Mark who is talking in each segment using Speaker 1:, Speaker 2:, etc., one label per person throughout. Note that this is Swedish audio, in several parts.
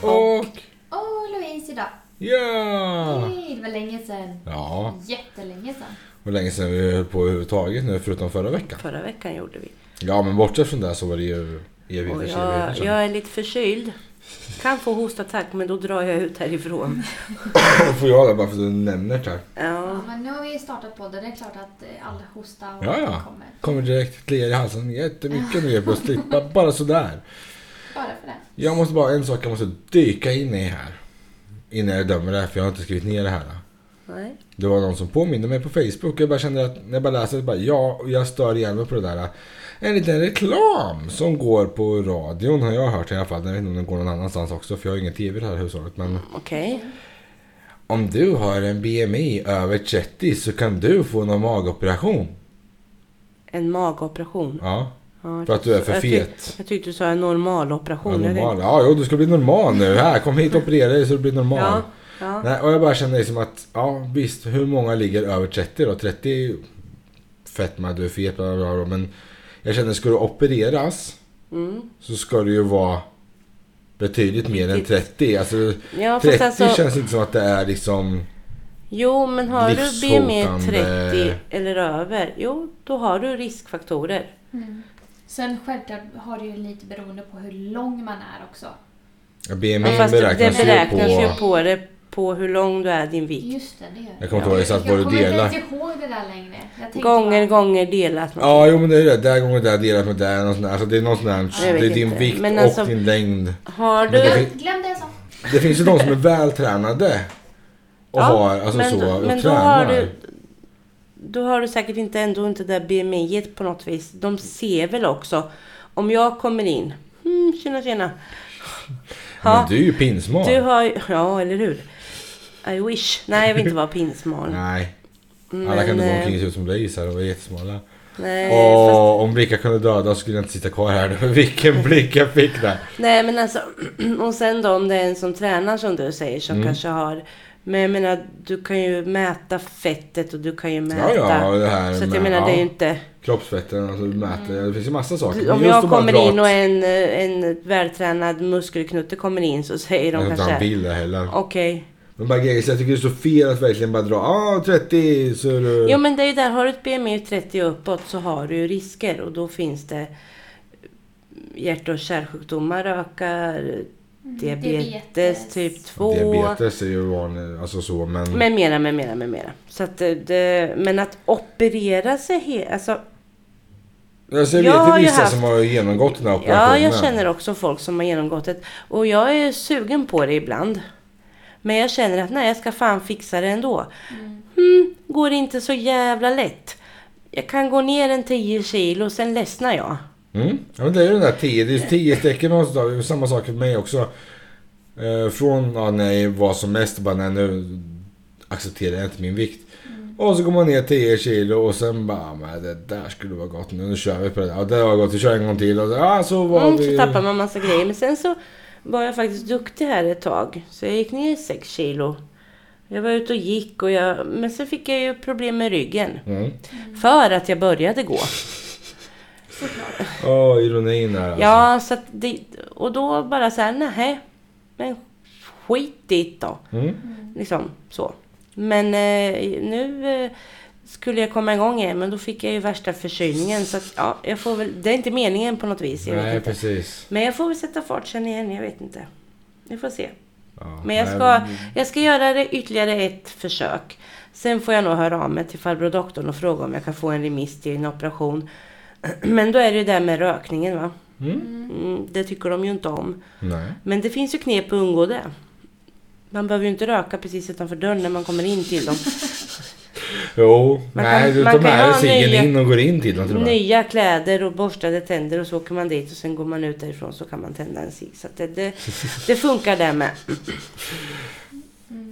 Speaker 1: och...
Speaker 2: Åh, Louise idag.
Speaker 1: Ja!
Speaker 2: Hej, det var länge sedan.
Speaker 1: Ja,
Speaker 2: Jättelänge sedan.
Speaker 1: och länge sedan vi höll på överhuvudtaget nu förutom förra veckan.
Speaker 3: Förra veckan gjorde vi.
Speaker 1: Ja, men bortsett från det så var det ju evig
Speaker 3: Och
Speaker 1: förkylning.
Speaker 3: jag,
Speaker 1: sedan.
Speaker 3: jag är lite förkyld. Kan få hostattack men då drar jag ut härifrån.
Speaker 1: Då får jag det bara för att du nämner det här.
Speaker 2: Ja,
Speaker 3: Ja,
Speaker 2: men nu har vi ju startat podden. Det är klart att eh, all hosta och
Speaker 1: Ja,
Speaker 2: allt
Speaker 1: ja.
Speaker 2: kommer.
Speaker 1: Kommer direkt kliar i halsen jättemycket nu helt plötsligt. Bara- Bara sådär.
Speaker 2: Bara för det.
Speaker 1: Jag måste bara, en sak jag måste dyka in i här. Innan jag dömer det här, för jag har inte skrivit ner det här.
Speaker 3: nej.
Speaker 1: Det var någon som påminde mig på Facebook. Jag bara kände att när jag bara läser det, bara, ja, och jag stör igen mig på det där. En liten reklam som går på radion har jag hört i alla fall. Jag vet inte om den går någon annanstans också för jag har ingen tv i det här hushållet. Men
Speaker 3: Okej.
Speaker 1: om du har en BMI över 30 så kan du få en magoperation.
Speaker 3: En magoperation.
Speaker 1: Ja,
Speaker 3: Ja,
Speaker 1: för att du är för
Speaker 3: jag tyck-
Speaker 1: fet.
Speaker 3: Jag tyckte du sa en normaloperation.
Speaker 1: Ja,
Speaker 3: Jag tänkte-
Speaker 1: normal. ja jo, du ska bli normal nu. Här, kom hit och operera dig så du blir normal.
Speaker 3: Ja, ja.
Speaker 1: Nej, och jag bara känner liksom att, ja visst, hur många ligger över 30 då? 30 är ju fetma, du är fet, bla, bla, bla, men jag känner, ska du opereras
Speaker 3: Mm.
Speaker 1: så ska du ju vara betydligt mer än 30. Alltså,
Speaker 3: ja fast
Speaker 1: 30
Speaker 3: alltså.
Speaker 1: känns inte som att det är liksom,
Speaker 3: Jo men har du BMI
Speaker 1: livshotande-
Speaker 3: 30 eller över. Jo då har du riskfaktorer.
Speaker 2: Sen självklart har det ju lite beroende på hur lång man är också.
Speaker 1: ja, BMI
Speaker 3: Ja, fast det
Speaker 1: beräknas,
Speaker 3: beräknas
Speaker 1: ju
Speaker 3: ju
Speaker 1: på...
Speaker 3: på det på hur lång du är din vikt.
Speaker 2: Just det, det gör
Speaker 1: Jag kommer inte ihåg exakt vad du
Speaker 2: Jag
Speaker 1: delar.
Speaker 2: kommer inte ens ihåg det där längre. Jag tänkte
Speaker 3: Gånger
Speaker 2: bara,
Speaker 3: gånger delat. med-
Speaker 1: Ja, jo men det är det. Där gånger där delat med där. något sånt där. Alltså, det är något sånt där.
Speaker 3: Jag vet
Speaker 1: Det är din
Speaker 3: inte.
Speaker 1: vikt
Speaker 3: Men
Speaker 1: och
Speaker 3: alltså-
Speaker 1: din längd.
Speaker 3: Har
Speaker 1: Men det
Speaker 3: du
Speaker 1: finns-
Speaker 2: Jag glömde en sak.
Speaker 1: Det finns ju de som är vältränade. Och
Speaker 3: Ja,
Speaker 1: har, alltså
Speaker 3: men,
Speaker 1: så, och
Speaker 3: men då
Speaker 1: tränar.
Speaker 3: har du Då har du säkert inte ändå inte det där BMI-et på något vis. De ser väl också. Om jag kommer in. Hmm, tjena tjena. Ja,
Speaker 1: Men du är ju pinsmal.
Speaker 3: du har ju- Ja, eller hur? I wish. Nej, jag vill inte vara pinsmal.
Speaker 1: Nej,
Speaker 3: Men,
Speaker 1: alla kan inte gå
Speaker 3: eh,
Speaker 1: omkring och se ut som dig gissar och vara jättesmala.
Speaker 3: Nej, fast,
Speaker 1: Åh, om blickar kunde döda så skulle jag inte sitta kvar här nu. Vilken blick jag fick där.
Speaker 3: nej, men alltså. Och sen då om det är en som tränar som du säger som
Speaker 1: Mm.
Speaker 3: kanske har. Men jag menar, du kan ju mäta fettet och du kan ju mäta.
Speaker 1: Ja, ja, och det här
Speaker 3: så att jag
Speaker 1: med-
Speaker 3: menar, det är ju
Speaker 1: ja.
Speaker 3: inte.
Speaker 1: Kroppsfetten, alltså du mäter, det finns ju massa saker.
Speaker 3: Om
Speaker 1: Men just
Speaker 3: jag
Speaker 1: att bara
Speaker 3: kommer
Speaker 1: dra
Speaker 3: in och
Speaker 1: åt-
Speaker 3: en, eh, en vältränad muskelknutte kommer in så säger
Speaker 1: Jag
Speaker 3: de
Speaker 1: tror inte han
Speaker 3: kanske
Speaker 1: vill det heller.
Speaker 3: Okej.
Speaker 1: Men bara grejer, så jag tycker det är så fel att verkligen bara dra ah 30 så är du...
Speaker 3: Jo men det är ju där, har du ett BMI 30 och uppåt så har du ju risker och då finns det hjärt och kärlsjukdomar ökar, diabetes,
Speaker 2: Mm. diabetes.
Speaker 3: typ 2.
Speaker 1: Diabetes är ju vanligt, alltså så men...
Speaker 3: Med mera, med mera, med mera. Så att det- det, men att operera sig helt, alltså
Speaker 1: alltså, jag
Speaker 3: jag
Speaker 1: vet
Speaker 3: har
Speaker 1: ju
Speaker 3: ju
Speaker 1: vissa
Speaker 3: haft-
Speaker 1: som har genomgått den här
Speaker 3: Ja,
Speaker 1: operationen.
Speaker 3: jag känner också folk som har genomgått det. Och jag är sugen på det ibland. Men jag känner att nej, jag ska fan fixa det ändå.
Speaker 2: Mm.
Speaker 3: Hmm, går inte så jävla lätt. Jag kan gå ner en 10 kilo, sen ledsnar jag.
Speaker 1: Mm. Ja, men det är ju den där 10, det är 10 tecken någonstans. Det är samma sak för mig också. Eh, från ja, när jag var som mest bara nej, nu accepterar jag inte min vikt.
Speaker 3: Mm.
Speaker 1: Och så går man ner 10 kilo och sen bara "Ah, men det där skulle vara gott nu, nu kör vi på det där. Och det var gott, vi kör en gång till. Och så, ja, så var
Speaker 3: Mm,
Speaker 1: vi...
Speaker 3: så tappar man massa grejer. Men sen så var jag faktiskt duktig här ett tag. Så jag gick ner 6 kilo. Jag var ute och gick och jag... Men sen fick jag ju problem med ryggen.
Speaker 1: Mm.
Speaker 3: För att jag började gå.
Speaker 1: Alltså. Åh, ironin där alltså.
Speaker 3: Ja, så att det, och då bara så här, nej, men skit i det då.
Speaker 1: Mm.
Speaker 3: Liksom så. Men eh, nu eh, skulle jag komma igång igen, men då fick jag ju värsta förkylningen. Så att, ja, jag får väl, det är inte meningen på något vis. Jag vet
Speaker 1: Nej,
Speaker 3: inte.
Speaker 1: precis.
Speaker 3: Men jag får väl sätta fart sen igen, jag vet inte. Vi får se.
Speaker 1: Ja.
Speaker 3: Men jag
Speaker 1: Nej,
Speaker 3: ska, jag ska göra det ytterligare ett försök. Sen får jag nog höra av mig till farbror doktorn och fråga om jag kan få en remiss till en operation. Men då är det ju det där med rökningen va? Mm, det tycker de ju inte om.
Speaker 1: Nej.
Speaker 3: Men det finns ju knep att undgå det. Man behöver ju inte röka precis utanför dörren när man kommer in till dem.
Speaker 1: Jo,
Speaker 3: Man
Speaker 1: nej,
Speaker 3: kan-
Speaker 1: du
Speaker 3: man
Speaker 1: tar
Speaker 3: kan ju
Speaker 1: med dig
Speaker 3: ha
Speaker 1: ciggen
Speaker 3: nya-
Speaker 1: in och går in till dem till och med.
Speaker 3: Nya kläder och borstade tänder och så åker man dit och sen går man ut därifrån så kan man tända en cigg. Så att det, det, det funkar det med.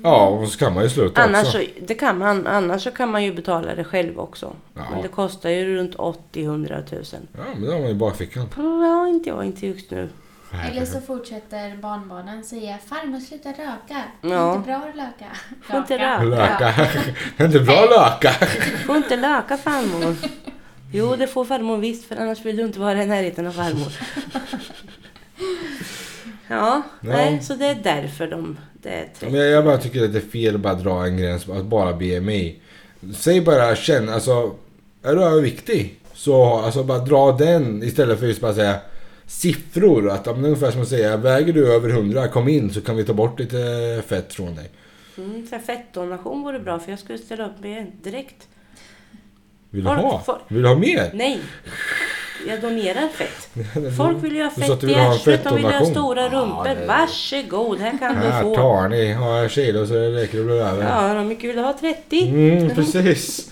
Speaker 1: Ja, och så kan man ju sluta
Speaker 3: Annars
Speaker 1: också.
Speaker 3: så, det kan man, annars så kan man ju betala det själv också.
Speaker 1: Ja.
Speaker 3: Men det kostar ju runt 80-100 tusen.
Speaker 1: Ja, men det har man ju i bakfickan.
Speaker 3: Ja, inte jag, inte just nu.
Speaker 1: Nej,
Speaker 2: Eller så fortsätter barnbarnen säga Farmor sluta röka.
Speaker 3: Ja.
Speaker 2: Det är inte bra att löka.
Speaker 3: Får inte röka.
Speaker 1: Löka. Det är inte bra löka.
Speaker 3: Får inte löka farmor. Jo, det får farmor visst, för annars vill du inte vara i närheten av farmor. Ja,
Speaker 1: Ja.
Speaker 3: Nej, så det är därför de... Det är
Speaker 1: Ja,
Speaker 3: 30.
Speaker 1: Men jag, jag bara tycker att det är fel att bara dra en gräns, att bara BMI. Säg bara känn, alltså är du överviktig så alltså, bara dra den istället för just bara säga siffror. Att, ja, men ungefär som att säga, väger du över 100 kom in så kan vi ta bort lite fett från dig.
Speaker 3: Mm, så här fettdonation vore bra för jag skulle ställa upp med en direkt.
Speaker 1: Vill du
Speaker 3: Har-
Speaker 1: ha?
Speaker 3: får-
Speaker 1: Vill du ha mer?
Speaker 3: Nej, jag donerar fett. Folk vill ju ha
Speaker 1: Du sa att
Speaker 3: fett
Speaker 1: du
Speaker 3: i
Speaker 1: vill ha en
Speaker 3: arslet, de vill ju ha
Speaker 1: fettdonation.
Speaker 3: stora
Speaker 1: Ja,
Speaker 3: rumpor.
Speaker 1: det-
Speaker 3: Varsågod, här kan du
Speaker 1: Här
Speaker 3: få.
Speaker 1: tar ni, ha en kilo så räcker det blir över.
Speaker 3: Ja, de mycket vill ha 30.
Speaker 1: Mm, precis.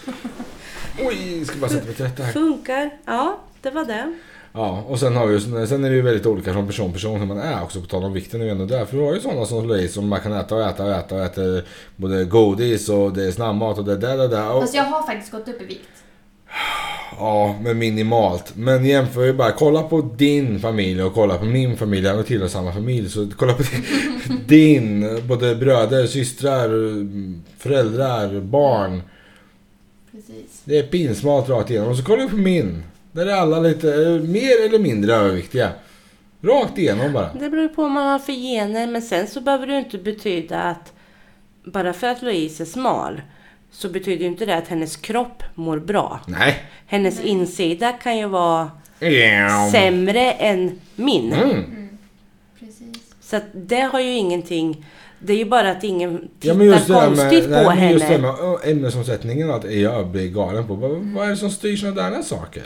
Speaker 1: Oj, ska bara sätta mig till rätta här.
Speaker 3: Funkar. Ja, det var det.
Speaker 1: Ja, och sen, har vi, ju- sen är det ju väldigt olika från person till person hur man är också på tal om vikten. är ju ändå där. För du har ju sådana som slår i som man kan äta och äta och äta och äter både godis och det är snabbmat och det där där där. Och,
Speaker 2: Fast jag har faktiskt gått upp i vikt.
Speaker 1: ja, men minimalt. Men jämför ju bara, kolla på din familj och kolla på min familj. Jag tillhör samma familj så kolla på din- din, både bröder, systrar, föräldrar, barn.
Speaker 2: Precis.
Speaker 1: Det är pinsmalt rakt igenom. Och så kollar vi på min. Där är alla lite eh, mer eller mindre överviktiga. Rakt igenom bara.
Speaker 3: Det beror ju på vad man har för gener, men sen så behöver det ju inte betyda att bara för att Louise är smal så betyder ju inte det att hennes kropp mår bra.
Speaker 1: Nej.
Speaker 3: Hennes insida kan ju vara
Speaker 1: Yeah.
Speaker 3: sämre än min.
Speaker 1: Ehm. Mm.
Speaker 2: Precis.
Speaker 3: Så att det har ju ingenting... Det är ju bara att ingen
Speaker 1: Ja,
Speaker 3: tittar
Speaker 1: men just det där
Speaker 3: konstigt
Speaker 1: med, nej,
Speaker 3: på
Speaker 1: men just det
Speaker 3: henne.
Speaker 1: där med ö, ämnesomsättningen och allt är jag blir galen på. Vad, vad är det som styr sådana där saker?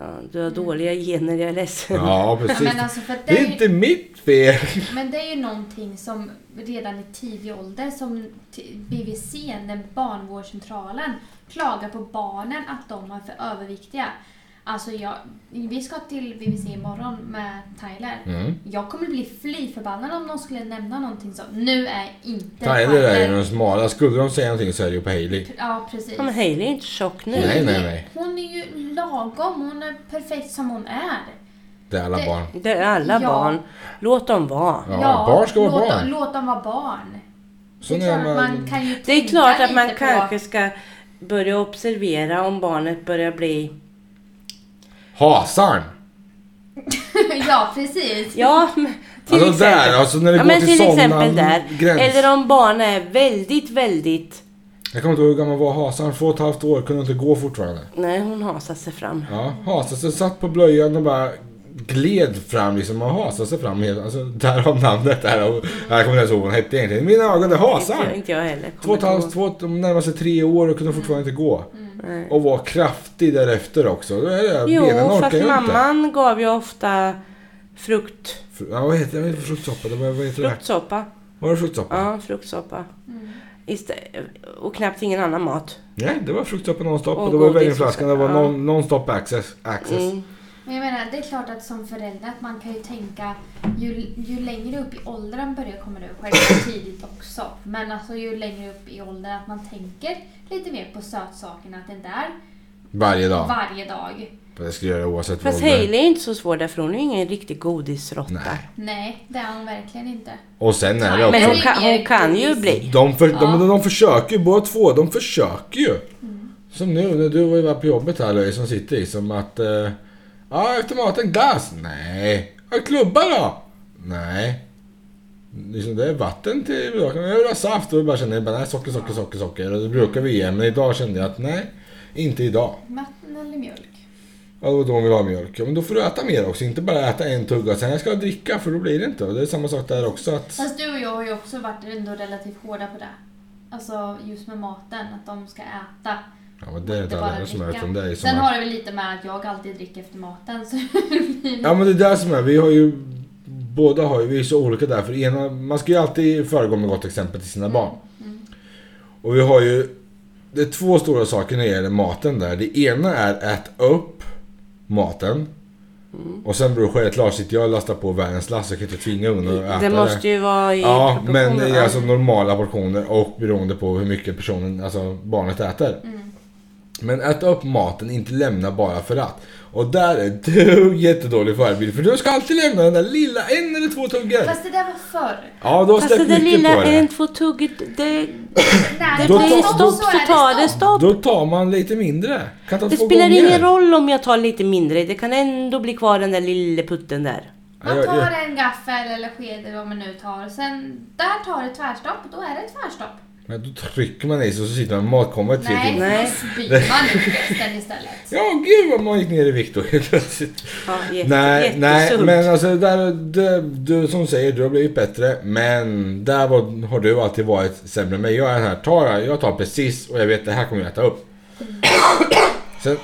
Speaker 3: Ja, du har dåliga
Speaker 2: Mm.
Speaker 3: gener, jag är ledsen.
Speaker 1: Ja,
Speaker 2: Ja,
Speaker 1: precis.
Speaker 2: men alltså för att
Speaker 1: det är inte mitt fel.
Speaker 2: Men det är ju någonting som redan i tidig ålder som t- BVC, den barnvårdscentralen, klagar på barnen att de är för överviktiga. Alltså jag, vi ska till BVC imorgon med Tyler.
Speaker 1: Mm.
Speaker 2: Jag kommer bli fly förbannad om någon skulle nämna någonting som nu är inte
Speaker 1: Tyler är ju den smala. Skulle de säga någonting så är det ju på Hailey.
Speaker 2: Ja, precis.
Speaker 3: Ja, men Hailey är inte tjock nu.
Speaker 1: Nej, nej, nej.
Speaker 2: Hon är ju lagom, hon är perfekt som hon är.
Speaker 1: Det är alla
Speaker 2: Det-
Speaker 1: barn.
Speaker 3: Det är alla
Speaker 2: Ja.
Speaker 3: barn. Låt dem vara.
Speaker 1: Ja, barn ska vara
Speaker 2: låt,
Speaker 1: barn.
Speaker 2: Dem, låt dem vara barn.
Speaker 1: Så
Speaker 2: det är
Speaker 1: när
Speaker 2: klart
Speaker 1: man-
Speaker 2: man, kan ju
Speaker 3: Det är
Speaker 2: tänka
Speaker 3: klart att man
Speaker 2: lite på-
Speaker 3: kanske ska börja observera om barnet börjar bli...
Speaker 1: Hasan!
Speaker 2: ja, precis.
Speaker 3: Ja, men till
Speaker 1: Alltså
Speaker 3: exempel.
Speaker 1: där, alltså när det
Speaker 3: ja,
Speaker 1: går
Speaker 3: men
Speaker 1: till,
Speaker 3: till exempel
Speaker 1: sådana
Speaker 3: där.
Speaker 1: gräns.
Speaker 3: Eller om barnet är väldigt, väldigt...
Speaker 1: Jag kommer inte ihåg hur gammal var Hasan. Två och ett halvt år, kunde inte gå fortfarande.
Speaker 3: Nej, hon hasar sig fram.
Speaker 1: Ja, hasade sig, satt på blöjan och bara gled fram liksom och hasade sig fram. helt- Alltså, därav namnet. Därav, jag kommer inte ens ihåg vad hon hette egentligen. I mina ögon, det
Speaker 3: Inte,
Speaker 1: hasar!
Speaker 3: inte jag heller.
Speaker 1: Två och ett
Speaker 3: kommer
Speaker 1: halvt,
Speaker 3: inte
Speaker 1: två, de närmaste tre år och kunde fortfarande inte gå.
Speaker 3: ihåg. Nej.
Speaker 1: Och var kraftig därefter också. Då är det, benen
Speaker 3: Mm. Jo,
Speaker 1: orkar
Speaker 3: fast
Speaker 1: ju inte.
Speaker 3: mamman gav ju ofta frukt,
Speaker 1: Fr- Ja, vad heter det? Fruktsoppa? Det var, vad heter det?
Speaker 3: fruktsoppa.
Speaker 1: Var det fruktsoppa?
Speaker 3: Ja, fruktsoppa.
Speaker 2: Mm.
Speaker 3: Istä- och knappt ingen annan mat.
Speaker 1: Nej, det var fruktsoppa nonstop. Och
Speaker 3: Och
Speaker 1: det var
Speaker 3: godis
Speaker 1: vällingflaskan. Det
Speaker 3: och så.
Speaker 1: var
Speaker 3: Ja.
Speaker 1: non, nonstop access. access.
Speaker 3: Mm.
Speaker 2: Men jag menar, det är klart att som förälder att man kan ju tänka ju, ju längre upp i åldern börjar komma nu, självklart tidigt också. Men alltså ju längre upp i åldern att man tänker lite mer på sötsakerna, att det inte är
Speaker 1: Varje dag.
Speaker 2: varje dag.
Speaker 1: Det skulle jag göra oavsett
Speaker 3: Fast
Speaker 1: ålder.
Speaker 3: Hailey är inte så svår där för hon är ju ingen riktig godisråtta.
Speaker 1: Nej.
Speaker 2: Nej, det är hon verkligen inte.
Speaker 1: Och sen är det
Speaker 2: Men
Speaker 1: också...
Speaker 3: Men hon
Speaker 2: Det är
Speaker 3: kan,
Speaker 2: mer
Speaker 3: hon kan ju
Speaker 2: godis.
Speaker 3: bli.
Speaker 1: De, för, de, de försöker ju, båda två, de försöker ju. Som nu, när du var ju på jobbet här Louise, som sitter i, som att... eh, Ja, efter maten glass? Nej. Ja, klubba då? Nej. Liksom, det är vatten till bråken. Jag vill ha saft. Och jag bara känner, bara, nej, socker, socker, socker, socker. Och det brukar vi ge, men idag kände jag att nej, inte idag.
Speaker 2: Vatten eller mjölk?
Speaker 1: Ja, det var då hon ville ha mjölk. Ja, men då får du äta mer också. Inte bara äta en tugga och sen jag ska dricka, för då blir det inte. Och det är samma sak där också att...
Speaker 2: Fast du och jag har ju också varit ändå relativt hårda på det. Alltså just med maten, att de ska äta.
Speaker 1: Ja, men det är
Speaker 2: inte
Speaker 1: inte
Speaker 2: bara
Speaker 1: alla andra som är,
Speaker 2: dricka.
Speaker 1: utan det är ju som
Speaker 2: Sen
Speaker 1: att-
Speaker 2: har det väl lite med att jag alltid dricker efter maten. Så
Speaker 3: Typ.
Speaker 1: Ja men det är det som är, vi har ju Båda har ju, vi är så olika där för ena, man ska ju alltid föregå med gott exempel till sina
Speaker 3: Mm,
Speaker 1: barn. Och vi har ju Det är två stora saker när det gäller maten där. Det ena är ät upp maten.
Speaker 3: Mm.
Speaker 1: Och sen beror det självklart, sitter jag och lastar på världens last, jag kan inte tvinga ungen att äta
Speaker 3: Det måste ju vara i
Speaker 1: Ja, men
Speaker 3: proportioner,
Speaker 1: det
Speaker 3: va?
Speaker 1: är alltså normala portioner och beroende på hur mycket personen, alltså barnet äter.
Speaker 3: Mm.
Speaker 1: Men äta upp maten, inte lämna bara för att. Och där är du jättedålig förebild för du ska alltid lämna den där lilla en eller två tuggor.
Speaker 2: Fast det där var förr.
Speaker 1: Ja, du har
Speaker 3: Fast det
Speaker 1: släppt
Speaker 3: där
Speaker 1: mycket på
Speaker 3: lilla
Speaker 1: det.
Speaker 3: en, två tugget, det,
Speaker 2: När
Speaker 3: det
Speaker 1: Då
Speaker 3: blir
Speaker 1: tar-
Speaker 3: stopp så tar det stopp.
Speaker 1: Då tar man lite mindre. Kan ta
Speaker 3: Det
Speaker 1: två
Speaker 3: spelar
Speaker 1: gånger.
Speaker 3: ingen roll om jag tar lite mindre, det kan ändå bli kvar den där lille putten där.
Speaker 2: Man
Speaker 1: jag-
Speaker 2: tar
Speaker 1: jag-
Speaker 2: en gaffel eller sked eller vad man nu tar. Sen där tar det tvärstopp, då är det ett tvärstopp.
Speaker 1: Men då trycker man i sig och så sitter man med matkomma i tre
Speaker 2: Nej,
Speaker 1: timmar.
Speaker 2: då
Speaker 3: Nej.
Speaker 2: spyr man ut resten istället.
Speaker 1: Ja, gud vad man gick ner i vikt då helt plötsligt.
Speaker 3: Ja, jätte,
Speaker 1: Nej, nej,
Speaker 3: jättesunt.
Speaker 1: men alltså där, det, du som säger, du har blivit bättre. Men där var, har du alltid varit sämre än mig. Jag är den här, tar jag, jag tar precis och jag vet det här kommer jag äta upp.
Speaker 3: Mm.
Speaker 1: Sen,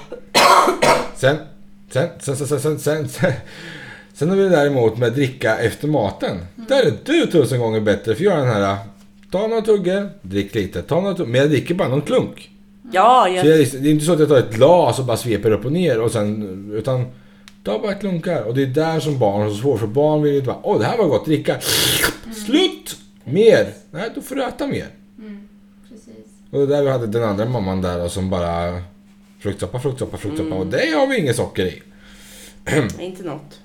Speaker 1: sen, sen, sen, sen, sen, sen, sen, sen. Sen har vi däremot med dricka efter maten.
Speaker 3: Mm.
Speaker 1: Där är du tusen gånger bättre för jag är den här, ta några tuggor, drick lite, ta några tuggor. Men jag dricker bara någon klunk.
Speaker 3: Ja, jag,
Speaker 1: Så jag, det är inte så att jag tar ett glas och bara sveper upp och ner och sen, utan ta bara klunkar. Och det är där som barn har så svårt, för barn vill ju inte bara åh det här var gott, dricka.
Speaker 3: Mm.
Speaker 1: Slut! Mer! Nej, då får du äta mer.
Speaker 2: Mm, Precis.
Speaker 1: Och det är där vi hade den andra mamman där och som bara fruktsoppa, fruktsoppa, fruktsoppa
Speaker 3: Mm.
Speaker 1: och det har vi inget socker i.
Speaker 3: inte något.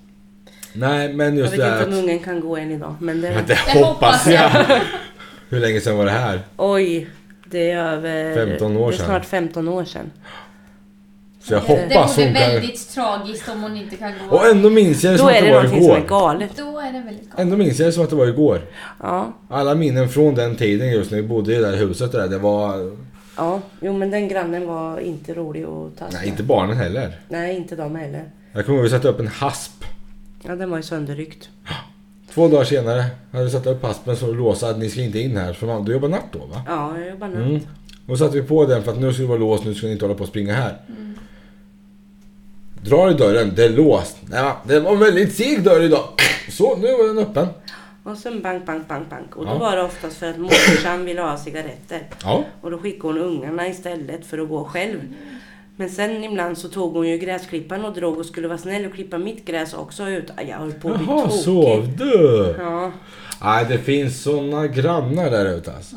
Speaker 1: Nej, men
Speaker 3: Jag
Speaker 1: just
Speaker 3: vet
Speaker 1: det här
Speaker 3: inte
Speaker 1: att...
Speaker 3: om ungen kan gå än idag. Men
Speaker 1: Men
Speaker 3: det,
Speaker 1: det
Speaker 2: Det hoppas
Speaker 1: hoppas jag! Hur länge sedan var det här?
Speaker 3: oj, det är över...
Speaker 1: 15 år
Speaker 3: Det är
Speaker 1: sedan.
Speaker 3: snart 15 år sedan.
Speaker 1: Så jag
Speaker 2: det
Speaker 1: hoppas
Speaker 2: vore
Speaker 1: hon kan...
Speaker 2: väldigt tragiskt om hon inte kan gå.
Speaker 1: Och ändå minns jag det
Speaker 3: Då
Speaker 1: som att
Speaker 3: är det
Speaker 1: det var
Speaker 3: någonting som är
Speaker 1: igår.
Speaker 3: galet.
Speaker 2: Då är det väldigt gott.
Speaker 1: Ändå minns jag det som att det var igår.
Speaker 3: Ja,
Speaker 1: Alla minnen från den tiden just när vi bodde i det där huset där, det var...
Speaker 3: ja. Jo, men den grannen var inte rolig att ta
Speaker 1: Nej, inte barnen heller.
Speaker 3: Nej, inte de heller.
Speaker 1: Jag kommer ihåg att vi satte upp en hasp.
Speaker 3: Ja, den var ju sönderryckt.
Speaker 1: Två dagar senare hade vi satt upp haspen så låsa att ni ska inte in här för man, du jobbar natt då va?
Speaker 3: Ja, jag jobbar natt.
Speaker 1: Mm. Och satte vi på den för att nu ska det vara låst, nu ska ni inte hålla på och springa här. Drar i dörren, det är låst. Nej, va, det var en väldigt seg dörr idag. Så, nu var den öppen.
Speaker 3: Och sen bank, bank, bank, bank. Och då
Speaker 1: Ja.
Speaker 3: var det oftast för att morsan ville ha cigaretter.
Speaker 1: Ja.
Speaker 3: Och då skickade hon ungarna istället för att gå själv. Men sen ibland så tog hon ju gräsklipparen och drog och skulle vara snäll och klippa mitt gräs också ut. Aj, Jag höll på att bli
Speaker 1: Jaha,
Speaker 3: tokig.
Speaker 1: sov du?
Speaker 3: Ja,
Speaker 1: Nej, det finns såna grannar där ute alltså.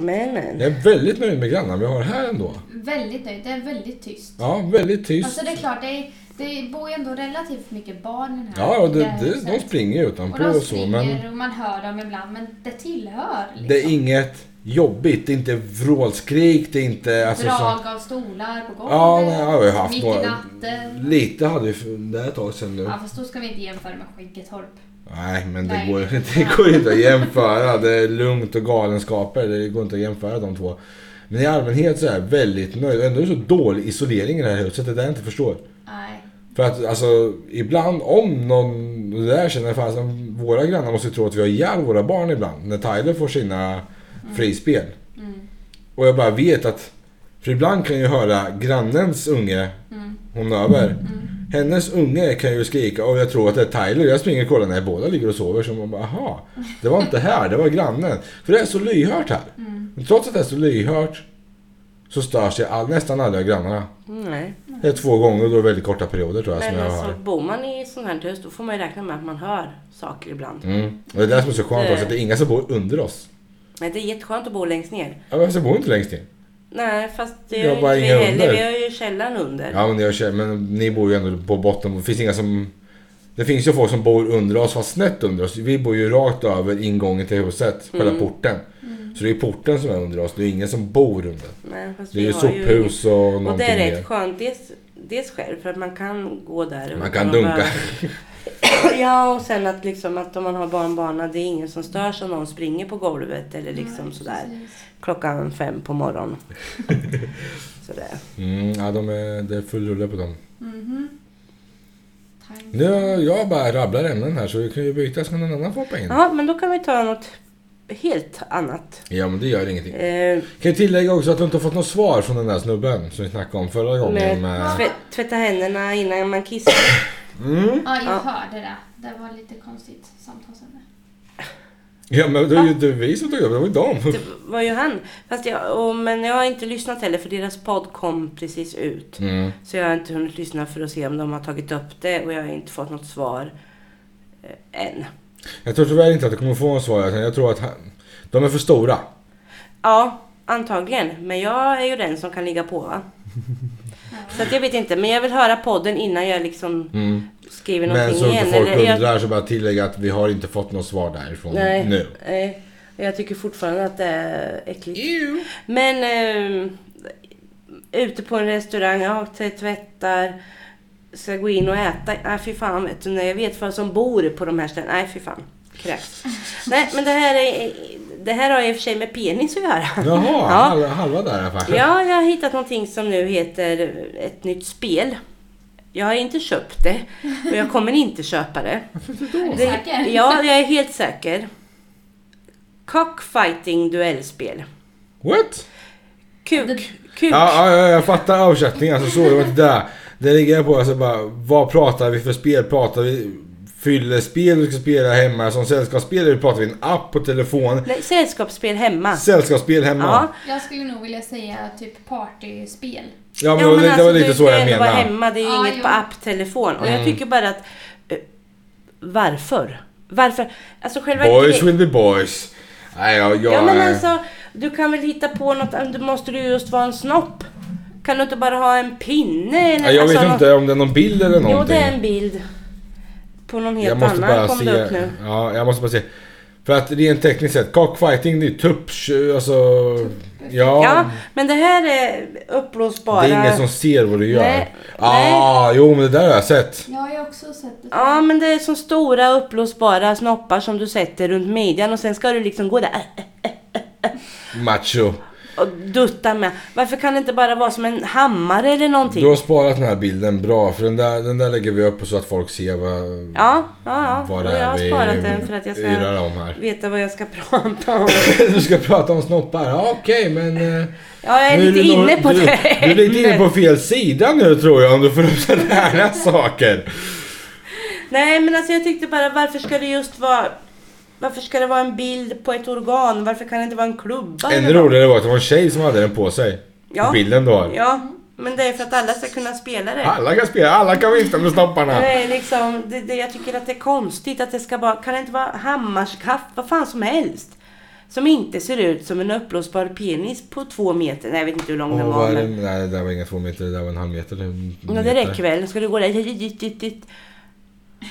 Speaker 3: men men.
Speaker 1: Jag är väldigt nöjd med grannarna vi har här ändå.
Speaker 2: Väldigt nöjd. Det är väldigt tyst.
Speaker 1: Ja, väldigt tyst.
Speaker 2: Alltså det är klart, det, är, det bor ju ändå relativt mycket barn i den här
Speaker 1: Ja, och
Speaker 2: i
Speaker 1: det,
Speaker 2: här
Speaker 1: det,
Speaker 2: huset.
Speaker 1: de springer ju
Speaker 2: Och
Speaker 1: utanpå
Speaker 2: de
Speaker 1: och så, men
Speaker 2: springer och man hör dem ibland, men det tillhör liksom.
Speaker 1: det är inget jobbigt. Det är inte vrålskrik, det är inte... Alltså, så,
Speaker 2: Drag av stolar på golvet.
Speaker 1: ja, nej, jag har ju haft
Speaker 2: mitt i
Speaker 1: några...
Speaker 2: natten.
Speaker 1: Lite hade vi för- det är ett tag sedan nu.
Speaker 2: Ja, fast då ska vi inte jämföra med Skäggetorp.
Speaker 1: Nej, men det
Speaker 2: Nej.
Speaker 1: går, det går inte att jämföra. Det är lugnt och galenskaper. Det går inte att jämföra de två. Men i allmänhet så är jag väldigt nöjd. Ändå är det så dålig isolering i det här huset. Det är det jag inte förstår.
Speaker 2: Nej.
Speaker 1: För att alltså, ibland om någon, det där känner jag fasen, våra grannar måste ju tro att vi har ihjäl våra barn ibland. När Tyler får sina frispel.
Speaker 2: Mm.
Speaker 1: Och jag bara vet att, för ibland kan jag ju höra grannens unge,
Speaker 2: Mm.
Speaker 1: hon över. Hennes unge kan ju skrika och jag tror att det är Tyler. Jag springer och kollar, nej båda ligger och sover. Så man bara, aha, det var inte här, det var grannen. För det är så lyhört här.
Speaker 2: Mm.
Speaker 1: Men trots att det är så lyhört så störs jag all, nästan aldrig av grannarna.
Speaker 3: Nej.
Speaker 1: Det är två gånger och då är det väldigt korta perioder tror jag som
Speaker 3: Men
Speaker 1: jag
Speaker 3: alltså
Speaker 1: hör.
Speaker 3: bor man i sånt här hus då får man ju räkna med att man hör saker ibland.
Speaker 1: Mm. Och det är det som är så skönt också, att det är inga som bor under oss.
Speaker 3: Men det är jätteskönt att bo längst ner.
Speaker 1: Ja, men alltså, jag bor inte längst in.
Speaker 3: Nej, fast det
Speaker 1: Jag
Speaker 3: gör
Speaker 1: bara
Speaker 3: ju inte
Speaker 1: inga
Speaker 3: vi heller.
Speaker 1: under.
Speaker 3: Vi har ju källaren under.
Speaker 1: Ja, men, jag känner, men ni bor ju ändå på botten. Det finns inga som... Det finns ju folk som bor under oss, fast snett under oss. Vi bor ju rakt över ingången till huset, själva
Speaker 3: Mm.
Speaker 1: porten. Så det är porten som är under oss, det är ingen som bor under.
Speaker 3: Nej, fast
Speaker 1: Det är ju
Speaker 3: vi har
Speaker 1: sophus och någonting
Speaker 3: Och det är
Speaker 1: mer.
Speaker 3: rätt skönt. Dels, dels själv för att man kan gå där. utan
Speaker 1: Man kan
Speaker 3: att
Speaker 1: dunka.
Speaker 3: behöva- ja och sen att liksom att om man har barnbarna det är ingen som störs om någon springer på golvet eller liksom sådär
Speaker 2: Precis.
Speaker 3: klockan fem på morgonen. sådär.
Speaker 1: Mm, ja, de är, det är full rulle på dem.
Speaker 2: Mhm. Tack.
Speaker 1: Nu, jag bara rabblar ämnen här så vi kan ju byta så kan någon annan få hoppa in.
Speaker 3: Ja men då kan vi ta något helt annat.
Speaker 1: Ja, men det gör ingenting.
Speaker 3: Eh,
Speaker 1: Kan ju tillägga också att du inte har fått något svar från den där snubben som vi snackade om förra gången.
Speaker 3: med
Speaker 1: Med...
Speaker 3: tve, tvätta händerna innan man kissar.
Speaker 1: Mm.
Speaker 2: Ja, jag
Speaker 3: Ja.
Speaker 2: hörde det. Det var lite konstigt samtalsämne.
Speaker 1: Ja, men det är ju inte vi som tog upp det, det var ju dem.
Speaker 3: Det var ju han. Fast jag, och, men jag har inte lyssnat heller för deras podd kom precis ut.
Speaker 1: Mm.
Speaker 3: Så jag har inte hunnit lyssna för att se om de har tagit upp det och jag har inte fått något svar eh, än.
Speaker 1: Jag tror tyvärr inte att du kommer få en svar. utan Jag tror att han, de är för stora.
Speaker 3: Ja, antagligen. Men jag är ju den som kan ligga på va? Så att jag vet inte, men jag vill höra podden innan jag liksom
Speaker 1: Mm.
Speaker 3: skriver
Speaker 1: Men
Speaker 3: någonting
Speaker 1: så
Speaker 3: igen.
Speaker 1: inte folk
Speaker 3: eller jag,
Speaker 1: undrar så bara tillägga att vi har inte fått något svar därifrån
Speaker 3: nej,
Speaker 1: nu.
Speaker 3: nej. Jag tycker fortfarande att det är äckligt. Men ehm, eh, ute på en restaurang, ja, t- tvättar, ska gå in och äta. Nej, fy fan. Vet du, när jag vet vad som bor på de här ställena. Nej, fy fan. Kräks. Nej, men det här, är, det här har i och för sig med penis att göra.
Speaker 1: Jaha,
Speaker 3: Ja.
Speaker 1: halva, halva där i alla fall.
Speaker 3: Ja, jag har hittat någonting som nu heter ett nytt spel. Jag har inte köpt det och jag kommer inte köpa det.
Speaker 2: Är du
Speaker 3: det
Speaker 2: säker?
Speaker 3: ja, jag är helt säker. Cockfighting duellspel.
Speaker 1: What?
Speaker 3: Kuk. Kuk.
Speaker 1: Ja, ja, ja, jag fattar översättningen. Alltså, så det var inte det. Det ligger jag på alltså bara, vad pratar vi för spel? Pratar vi fyllespel du ska spela hemma som sällskapsspel? Eller pratar vi en app på telefon?
Speaker 3: Nej, sällskapsspel hemma.
Speaker 1: Sällskapsspel hemma?
Speaker 3: Ja.
Speaker 2: Jag skulle nog vilja säga typ partyspel.
Speaker 1: Ja, men,
Speaker 3: Ja,
Speaker 1: det, det var
Speaker 3: alltså,
Speaker 1: lite
Speaker 3: du
Speaker 1: så
Speaker 3: ska
Speaker 1: jag Mm.
Speaker 3: ändå vara
Speaker 1: menade.
Speaker 3: hemma, det är ju
Speaker 2: Ja,
Speaker 3: inget
Speaker 2: jo.
Speaker 3: på apptelefon. Och jag tycker bara att... eh, varför? Varför? Alltså själva
Speaker 1: Boys
Speaker 3: gre-
Speaker 1: will be boys. Nej, jag... jag
Speaker 3: Ja men alltså, du kan väl hitta på något, eh, då måste du just vara en snopp. Kan du inte bara ha en pinne? Eller,
Speaker 1: Nej, jag
Speaker 3: alltså,
Speaker 1: vet
Speaker 3: nå-
Speaker 1: inte om det är någon bild eller någonting.
Speaker 3: Jo det är en bild. På någon helt
Speaker 1: jag måste
Speaker 3: annan
Speaker 1: bara
Speaker 3: kom
Speaker 1: se,
Speaker 3: det upp nu.
Speaker 1: Ja, jag måste bara se. För att rent tekniskt sett, cockfighting det är ju tupp, alltså... Ja,
Speaker 3: Ja, men det här är uppblåsbara...
Speaker 1: det är ingen som ser vad du gör.
Speaker 3: Nej,
Speaker 1: ah, jo men det där har jag sett.
Speaker 2: Ja, jag har också sett det.
Speaker 3: Ja, men det är som stora uppblåsbara snoppar som du sätter runt midjan och sen ska du liksom gå där äh, äh,
Speaker 1: Macho.
Speaker 3: och dutta med. Varför kan det inte bara vara som en hammare eller någonting?
Speaker 1: Du har sparat den här bilden bra, för den där, den där lägger vi upp så att folk ser vad...
Speaker 3: Ja, ja, ja.
Speaker 1: Vad
Speaker 3: Och
Speaker 1: det är
Speaker 3: jag har
Speaker 1: vi
Speaker 3: sparat den för att jag
Speaker 1: yrar
Speaker 3: ska
Speaker 1: om här.
Speaker 3: veta vad jag ska prata om.
Speaker 1: du ska prata om snoppar, ja, okej men... eh,
Speaker 3: Ja, jag är
Speaker 1: nu
Speaker 3: lite
Speaker 1: du nog-
Speaker 3: inne på
Speaker 1: du,
Speaker 3: det.
Speaker 1: Du är lite inne på fel sida nu tror jag om du får upp sådana här saker.
Speaker 3: Nej, men alltså jag tyckte bara varför ska det just vara... Varför ska det vara en bild på ett organ? Varför kan det inte vara en klubba?
Speaker 1: Ännu
Speaker 3: eller något?
Speaker 1: roligare var att det var en tjej som hade den på sig.
Speaker 3: Ja.
Speaker 1: Bilden du har.
Speaker 3: Ja, men det är för att alla ska kunna spela det.
Speaker 1: Alla kan spela, alla kan vifta med snopparna.
Speaker 3: Det är liksom, det, det, jag tycker att det är konstigt att det ska vara, kan det inte vara hammarskaft, vad fan som helst. Som inte ser ut som en uppblåsbar penis på två meter. Nej, jag vet inte hur lång
Speaker 1: Och
Speaker 3: den
Speaker 1: vad
Speaker 3: var.
Speaker 1: är det,
Speaker 3: Men,
Speaker 1: nej, det där var inga två meter, det där var en halv meter. en
Speaker 3: ja, det
Speaker 1: meter.
Speaker 3: räcker väl. Ska du gå där? dit, dit, dit, dit.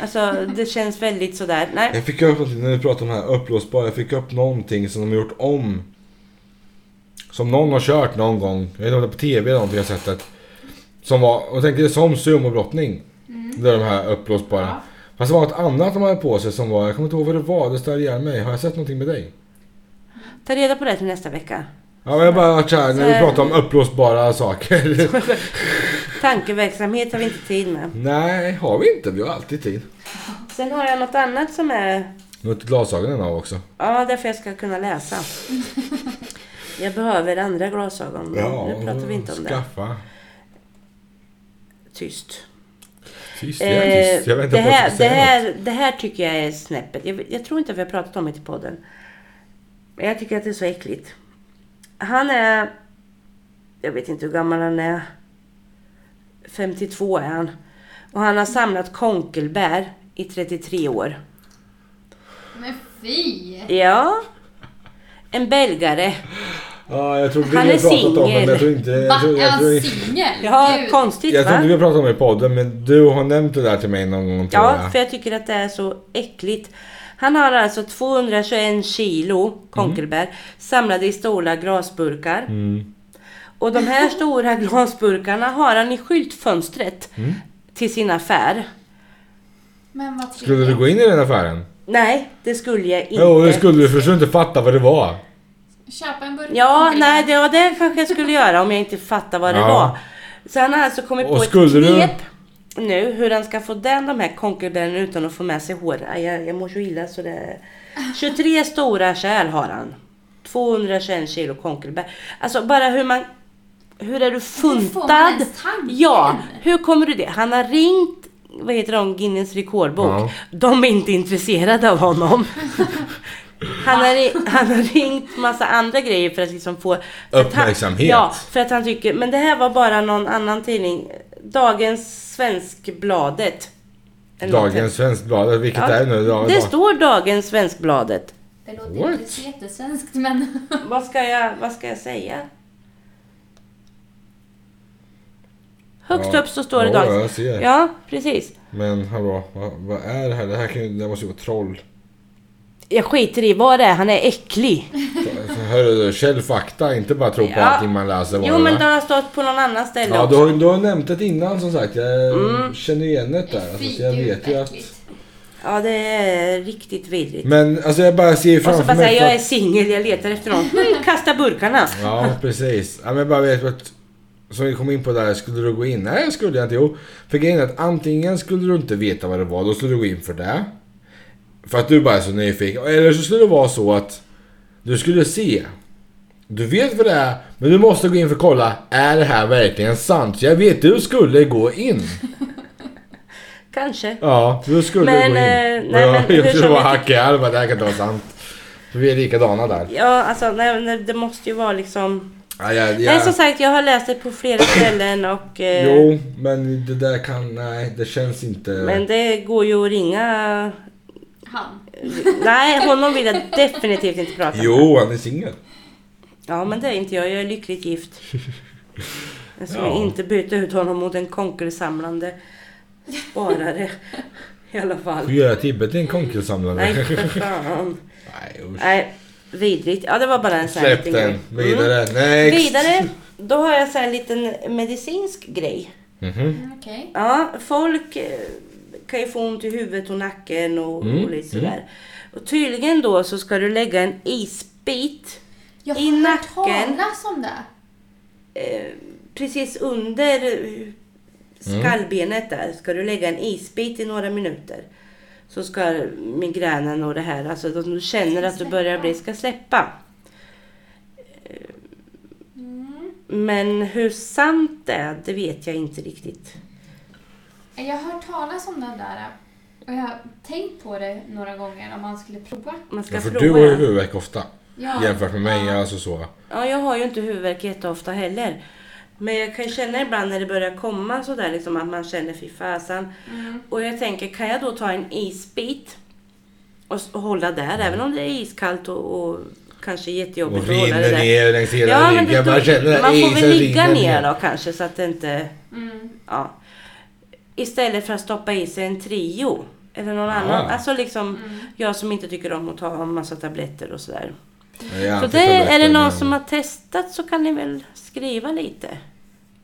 Speaker 3: Alltså, det känns väldigt sådär. Nej.
Speaker 1: Jag fick upp någonting när vi pratade om det här uppblåsbara. Jag fick upp någonting som de har gjort om. Som någon har kört någon gång. Jag vet inte om det är på TV eller någonting jag har sett det. Som var, och jag tänker det är som sumobrottning.
Speaker 3: Mm.
Speaker 1: Det är de här uppblåsbara.
Speaker 2: Ja.
Speaker 1: Fast det var något annat de hade på sig som var, jag kommer inte ihåg vad det var, det stör ihjäl mig. Har jag sett någonting med dig?
Speaker 3: Ta reda på det till nästa vecka.
Speaker 1: Ja men jag bara varit såhär, när vi
Speaker 3: Så-
Speaker 1: pratar om uppblåsbara saker.
Speaker 3: Tankeverksamhet har vi inte tid med.
Speaker 1: Nej, har vi inte. Vi har alltid tid.
Speaker 3: Sen har jag något annat som är
Speaker 1: Nu har inte glasögonen av också.
Speaker 3: Ja, därför jag ska kunna läsa. Jag behöver andra glasögon. men nu pratar vi inte om det.
Speaker 1: skaffa.
Speaker 3: Tyst.
Speaker 1: Tyst, jag är
Speaker 3: Eh,
Speaker 1: tyst. Jag väntar
Speaker 3: det,
Speaker 1: på att du
Speaker 3: här,
Speaker 1: ska
Speaker 3: det,
Speaker 1: säga något.
Speaker 3: här, det här tycker jag är snäppet. Jag, jag tror inte att vi har pratat om det i podden. Men jag tycker att det är så äckligt. Han är... Jag vet inte hur gammal han är. 52 är han. Och han har samlat konkelbär i 33 år.
Speaker 2: Men fy!
Speaker 3: Ja. En belgare.
Speaker 1: Ja, jag tror vi
Speaker 3: Han
Speaker 1: har
Speaker 3: är
Speaker 1: pratat om det, men jag
Speaker 3: singel.
Speaker 1: tror inte... Jag
Speaker 2: Va?
Speaker 1: tror,
Speaker 2: Är
Speaker 1: jag tror,
Speaker 2: han
Speaker 1: jag
Speaker 2: singel?
Speaker 3: Ja,
Speaker 2: Gud.
Speaker 3: konstigt
Speaker 1: tror
Speaker 3: va?
Speaker 1: inte vi har pratat om det i podden, men du har nämnt det där till mig någon gång tror
Speaker 3: Ja,
Speaker 1: jag.
Speaker 3: för jag tycker att det är så äckligt. Han har alltså 221 kilo konkelbär samlade i stora glasburkar.
Speaker 1: Mm.
Speaker 3: Och de här stora glasburkarna har han i skyltfönstret
Speaker 1: Mm.
Speaker 3: till sin affär.
Speaker 2: Men vad trevligt.
Speaker 1: Skulle du gå in i den affären?
Speaker 3: Nej, det skulle jag inte.
Speaker 1: Jo, det skulle du för du skulle inte fatta vad det var.
Speaker 2: Köpa en burk
Speaker 3: Ja,
Speaker 2: konkelbär.
Speaker 3: nej, det, ja, det kanske jag skulle göra om jag inte fattar vad det
Speaker 1: Ja.
Speaker 3: var. Så han har alltså kommit
Speaker 1: Och
Speaker 3: på
Speaker 1: skulle
Speaker 3: ett
Speaker 1: du-
Speaker 3: knep nu hur han ska få den, de här konkelbären utan att få med sig hår. Aj, Jag, jag mår så illa så det... 23 stora kärl har han. 221 kilo konkelbär. Alltså bara hur man... Hur är du
Speaker 2: man
Speaker 3: funtad?
Speaker 2: ens tanken?
Speaker 3: Ja, hur kommer du det? Han har ringt, vad heter de, Guinness rekordbok.
Speaker 1: Ja.
Speaker 3: De är inte intresserade av honom. Han har, ri- han har ringt massa andra grejer för att liksom få för att han-
Speaker 1: Uppmärksamhet.
Speaker 3: Ja, för att han tycker, men det här var bara någon annan tidning. Dagens Svenskbladet. Eller något.
Speaker 1: Dagens Svenskbladet, vilket
Speaker 3: Ja,
Speaker 1: det är nu. Dag,
Speaker 3: Det står Dagens Svenskbladet.
Speaker 2: Det låter
Speaker 1: What?
Speaker 2: inte så jättesvenskt men...
Speaker 3: Vad ska jag, vad ska jag säga? Högst
Speaker 1: Ja.
Speaker 3: upp så står det
Speaker 1: Ja,
Speaker 3: Dagens.
Speaker 1: jag ser.
Speaker 3: Ja, precis.
Speaker 1: Men hallå, vad, vad är det här? Det här kan ju, det måste ju vara troll.
Speaker 3: Jag skiter i vad det är, han är äcklig.
Speaker 1: Så Hörru, källfakta, inte bara tro på
Speaker 3: Ja.
Speaker 1: allting man läser. bara,
Speaker 3: Jo, men
Speaker 1: va?
Speaker 3: det har stått på någon annan ställe
Speaker 1: Ja, du
Speaker 3: också.
Speaker 1: har, du har nämnt det innan som sagt. Jag
Speaker 3: Mm.
Speaker 1: känner igen det där. Alltså, så jag
Speaker 2: Fy,
Speaker 1: vet
Speaker 2: gud,
Speaker 1: ju att...
Speaker 2: äckligt.
Speaker 3: Ja, det är riktigt vidrigt.
Speaker 1: Men alltså jag bara ser
Speaker 3: Och så
Speaker 1: framför
Speaker 3: bara
Speaker 1: mig...
Speaker 3: säga,
Speaker 1: för
Speaker 3: jag är
Speaker 1: att-
Speaker 3: singel, jag letar efter någon. Mm, kasta burkarna.
Speaker 1: Ja, precis. Ja, men jag bara vet att... Som vi kom in på där, skulle du gå in? Nej, skulle jag inte. Jo. För grejen är att antingen skulle du inte veta vad det var, då skulle du gå in för det. För att du bara är så nyfiken. Eller så skulle det vara så att du skulle se. Du vet vad det är, men du måste gå in för att kolla. Är det här verkligen sant? Jag vet, du skulle gå in.
Speaker 3: Kanske.
Speaker 1: Ja, du skulle
Speaker 3: Men,
Speaker 1: gå in.
Speaker 3: eh, nej,
Speaker 1: Och
Speaker 3: men
Speaker 1: jag,
Speaker 3: hur
Speaker 1: jag skulle
Speaker 3: som
Speaker 1: bara
Speaker 3: vi-
Speaker 1: hacka i armen, det här kan inte vara sant. För vi är likadana där.
Speaker 3: Ja, alltså nej, nej, det måste ju vara liksom...
Speaker 1: Ja, jag,
Speaker 3: Nej,
Speaker 1: jag,
Speaker 3: som sagt, jag har läst det på flera ställen och... Eh,
Speaker 1: jo, men det där kan... Nej, det känns inte...
Speaker 3: Men det går ju att ringa...
Speaker 2: Han.
Speaker 3: Nej, honom vill jag definitivt inte prata med.
Speaker 1: Jo, han är singel.
Speaker 3: Ja, men det är inte jag. Jag är lyckligt gift. Jag skulle
Speaker 1: Ja.
Speaker 3: inte byta ut honom mot en konkelsamlande sparare. I alla
Speaker 1: Får
Speaker 3: fall.
Speaker 1: göra Tibbe till en konkelsamlare.
Speaker 3: Nej, för fan.
Speaker 1: Nej, usch.
Speaker 3: Nej, vidrigt. Ja, det var bara en sån här
Speaker 1: Släpp
Speaker 3: liten
Speaker 1: den.
Speaker 3: grej. Mm.
Speaker 1: Vidare. Next.
Speaker 3: Vidare, då har jag så här en liten medicinsk grej.
Speaker 1: Mhm.
Speaker 2: Mm, Okej.
Speaker 3: Ja, folk eh, kan ju få ont i huvudet och nacken och,
Speaker 1: Mm,
Speaker 3: och lite sådär. Och tydligen då så ska du lägga en isbit
Speaker 2: Jag
Speaker 3: I
Speaker 2: har hört
Speaker 3: nacken.
Speaker 2: talas om det.
Speaker 3: eh, precis under eh, skallbenet där ska du lägga en isbit i några minuter. Så ska migränen och det här, alltså då du känner att du börjar bli, ska släppa.
Speaker 2: Mm.
Speaker 3: Men hur sant det är, det vet jag inte riktigt.
Speaker 2: Jag har hört talas om det där. Och jag har tänkt på det några gånger om man skulle prova.
Speaker 3: Man ska
Speaker 1: Ja, för
Speaker 3: prova.
Speaker 1: du har ju
Speaker 3: det.
Speaker 1: huvudvärk ofta.
Speaker 2: Ja.
Speaker 1: Jämfört med mig, alltså så.
Speaker 3: Ja, jag har ju inte huvudvärk jätteofta heller. Men jag kan ju känna ibland när det börjar komma sådär liksom att man känner fy fasen. Och jag tänker, kan jag då ta en isbit och, s- och hålla där även om det är iskallt och, och kanske jättejobbigt
Speaker 1: Och
Speaker 3: att hålla det
Speaker 1: rinner
Speaker 3: där.
Speaker 1: ner längs hela
Speaker 3: Ja, men
Speaker 1: ryggen.
Speaker 3: det,
Speaker 1: Man känner
Speaker 3: då,
Speaker 1: att
Speaker 3: man får
Speaker 1: isen
Speaker 3: väl ligga
Speaker 1: rinner
Speaker 3: ner då kanske så att det inte,
Speaker 2: Mm.
Speaker 3: ja. Istället för att stoppa i sig en Trio. Eller någon annan. Alltså liksom, jag som inte tycker om att ta en massa tabletter och sådär.
Speaker 1: Ja, jag
Speaker 3: Så
Speaker 1: antar
Speaker 3: det, är det
Speaker 1: men-
Speaker 3: någon som har testat så kan ni väl skriva lite.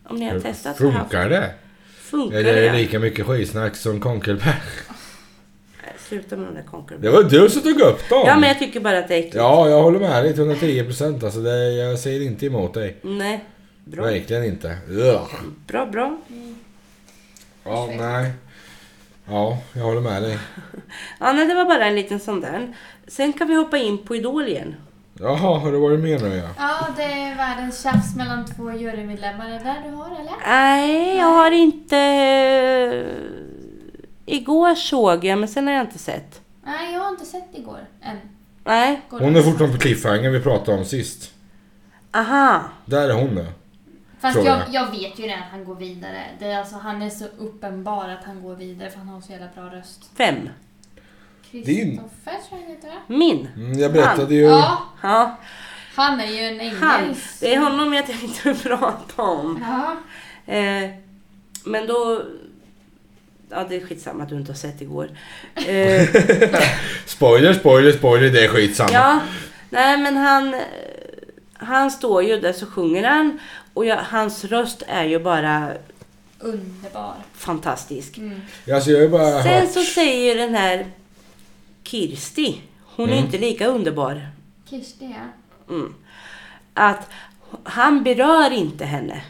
Speaker 3: Om ni har testat och haft-
Speaker 1: Funkar det?
Speaker 3: Funkar
Speaker 1: Eller är det
Speaker 3: det?
Speaker 1: lika mycket skitsnack som konkelberg?
Speaker 3: Nej, Sluta med de där
Speaker 1: Det
Speaker 3: konkurrenserna.
Speaker 1: var du som tog upp dem!
Speaker 3: Ja men jag tycker bara att det är äckligt.
Speaker 1: Ja, jag håller med dig till 110 procent. Alltså det, jag säger inte emot dig.
Speaker 3: Nej. Bra.
Speaker 1: Verkligen inte. Ugh.
Speaker 3: Bra, bra.
Speaker 1: Ja, nej. Ja, jag håller med dig.
Speaker 3: Ja, nej, det var bara en liten sån där. Sen kan vi hoppa in på Idol igen.
Speaker 1: Jaha, har du varit med nu ja?
Speaker 2: Ja, det är världens tjafs mellan två jurymedlemmar. Är det där du har eller?
Speaker 3: Nej, jag har inte... eh, Igår såg jag, men sen har jag inte sett.
Speaker 2: Nej, jag har inte sett igår än.
Speaker 3: Nej.
Speaker 2: Går
Speaker 1: Hon
Speaker 2: det?
Speaker 1: är fortfarande på cliffhanger vi pratade om sist.
Speaker 3: Aha.
Speaker 1: Där är hon nu.
Speaker 2: Fast
Speaker 1: tror
Speaker 2: jag,
Speaker 1: jag.
Speaker 2: jag vet ju när han går vidare. Det är alltså, han är så uppenbar att han går vidare för han har så jävla bra röst.
Speaker 3: Vem?
Speaker 1: Din.
Speaker 2: Kristoffer tror jag han heter va?
Speaker 3: Min?
Speaker 1: Mm, jag berättade ju...
Speaker 2: Ja,
Speaker 3: Ja.
Speaker 2: han är ju en
Speaker 3: Han.
Speaker 2: engels.
Speaker 3: Det är honom jag tänkte prata om.
Speaker 2: Ja.
Speaker 3: Eh, men då... Ja, det är skitsamma att du inte har sett igår. Eh,
Speaker 1: Spoiler, spoiler, spoiler. Det är skitsamma.
Speaker 3: ja, nej men han... eh, Han står ju där så sjunger han och jag, hans röst är ju bara
Speaker 2: Underbar.
Speaker 3: fantastisk.
Speaker 2: Mm.
Speaker 1: Alltså jag har ju bara
Speaker 3: Sen
Speaker 1: hört...
Speaker 3: så säger den här Kirsti, hon är inte lika underbar,
Speaker 2: Kirsti ja.
Speaker 3: att han berör inte henne.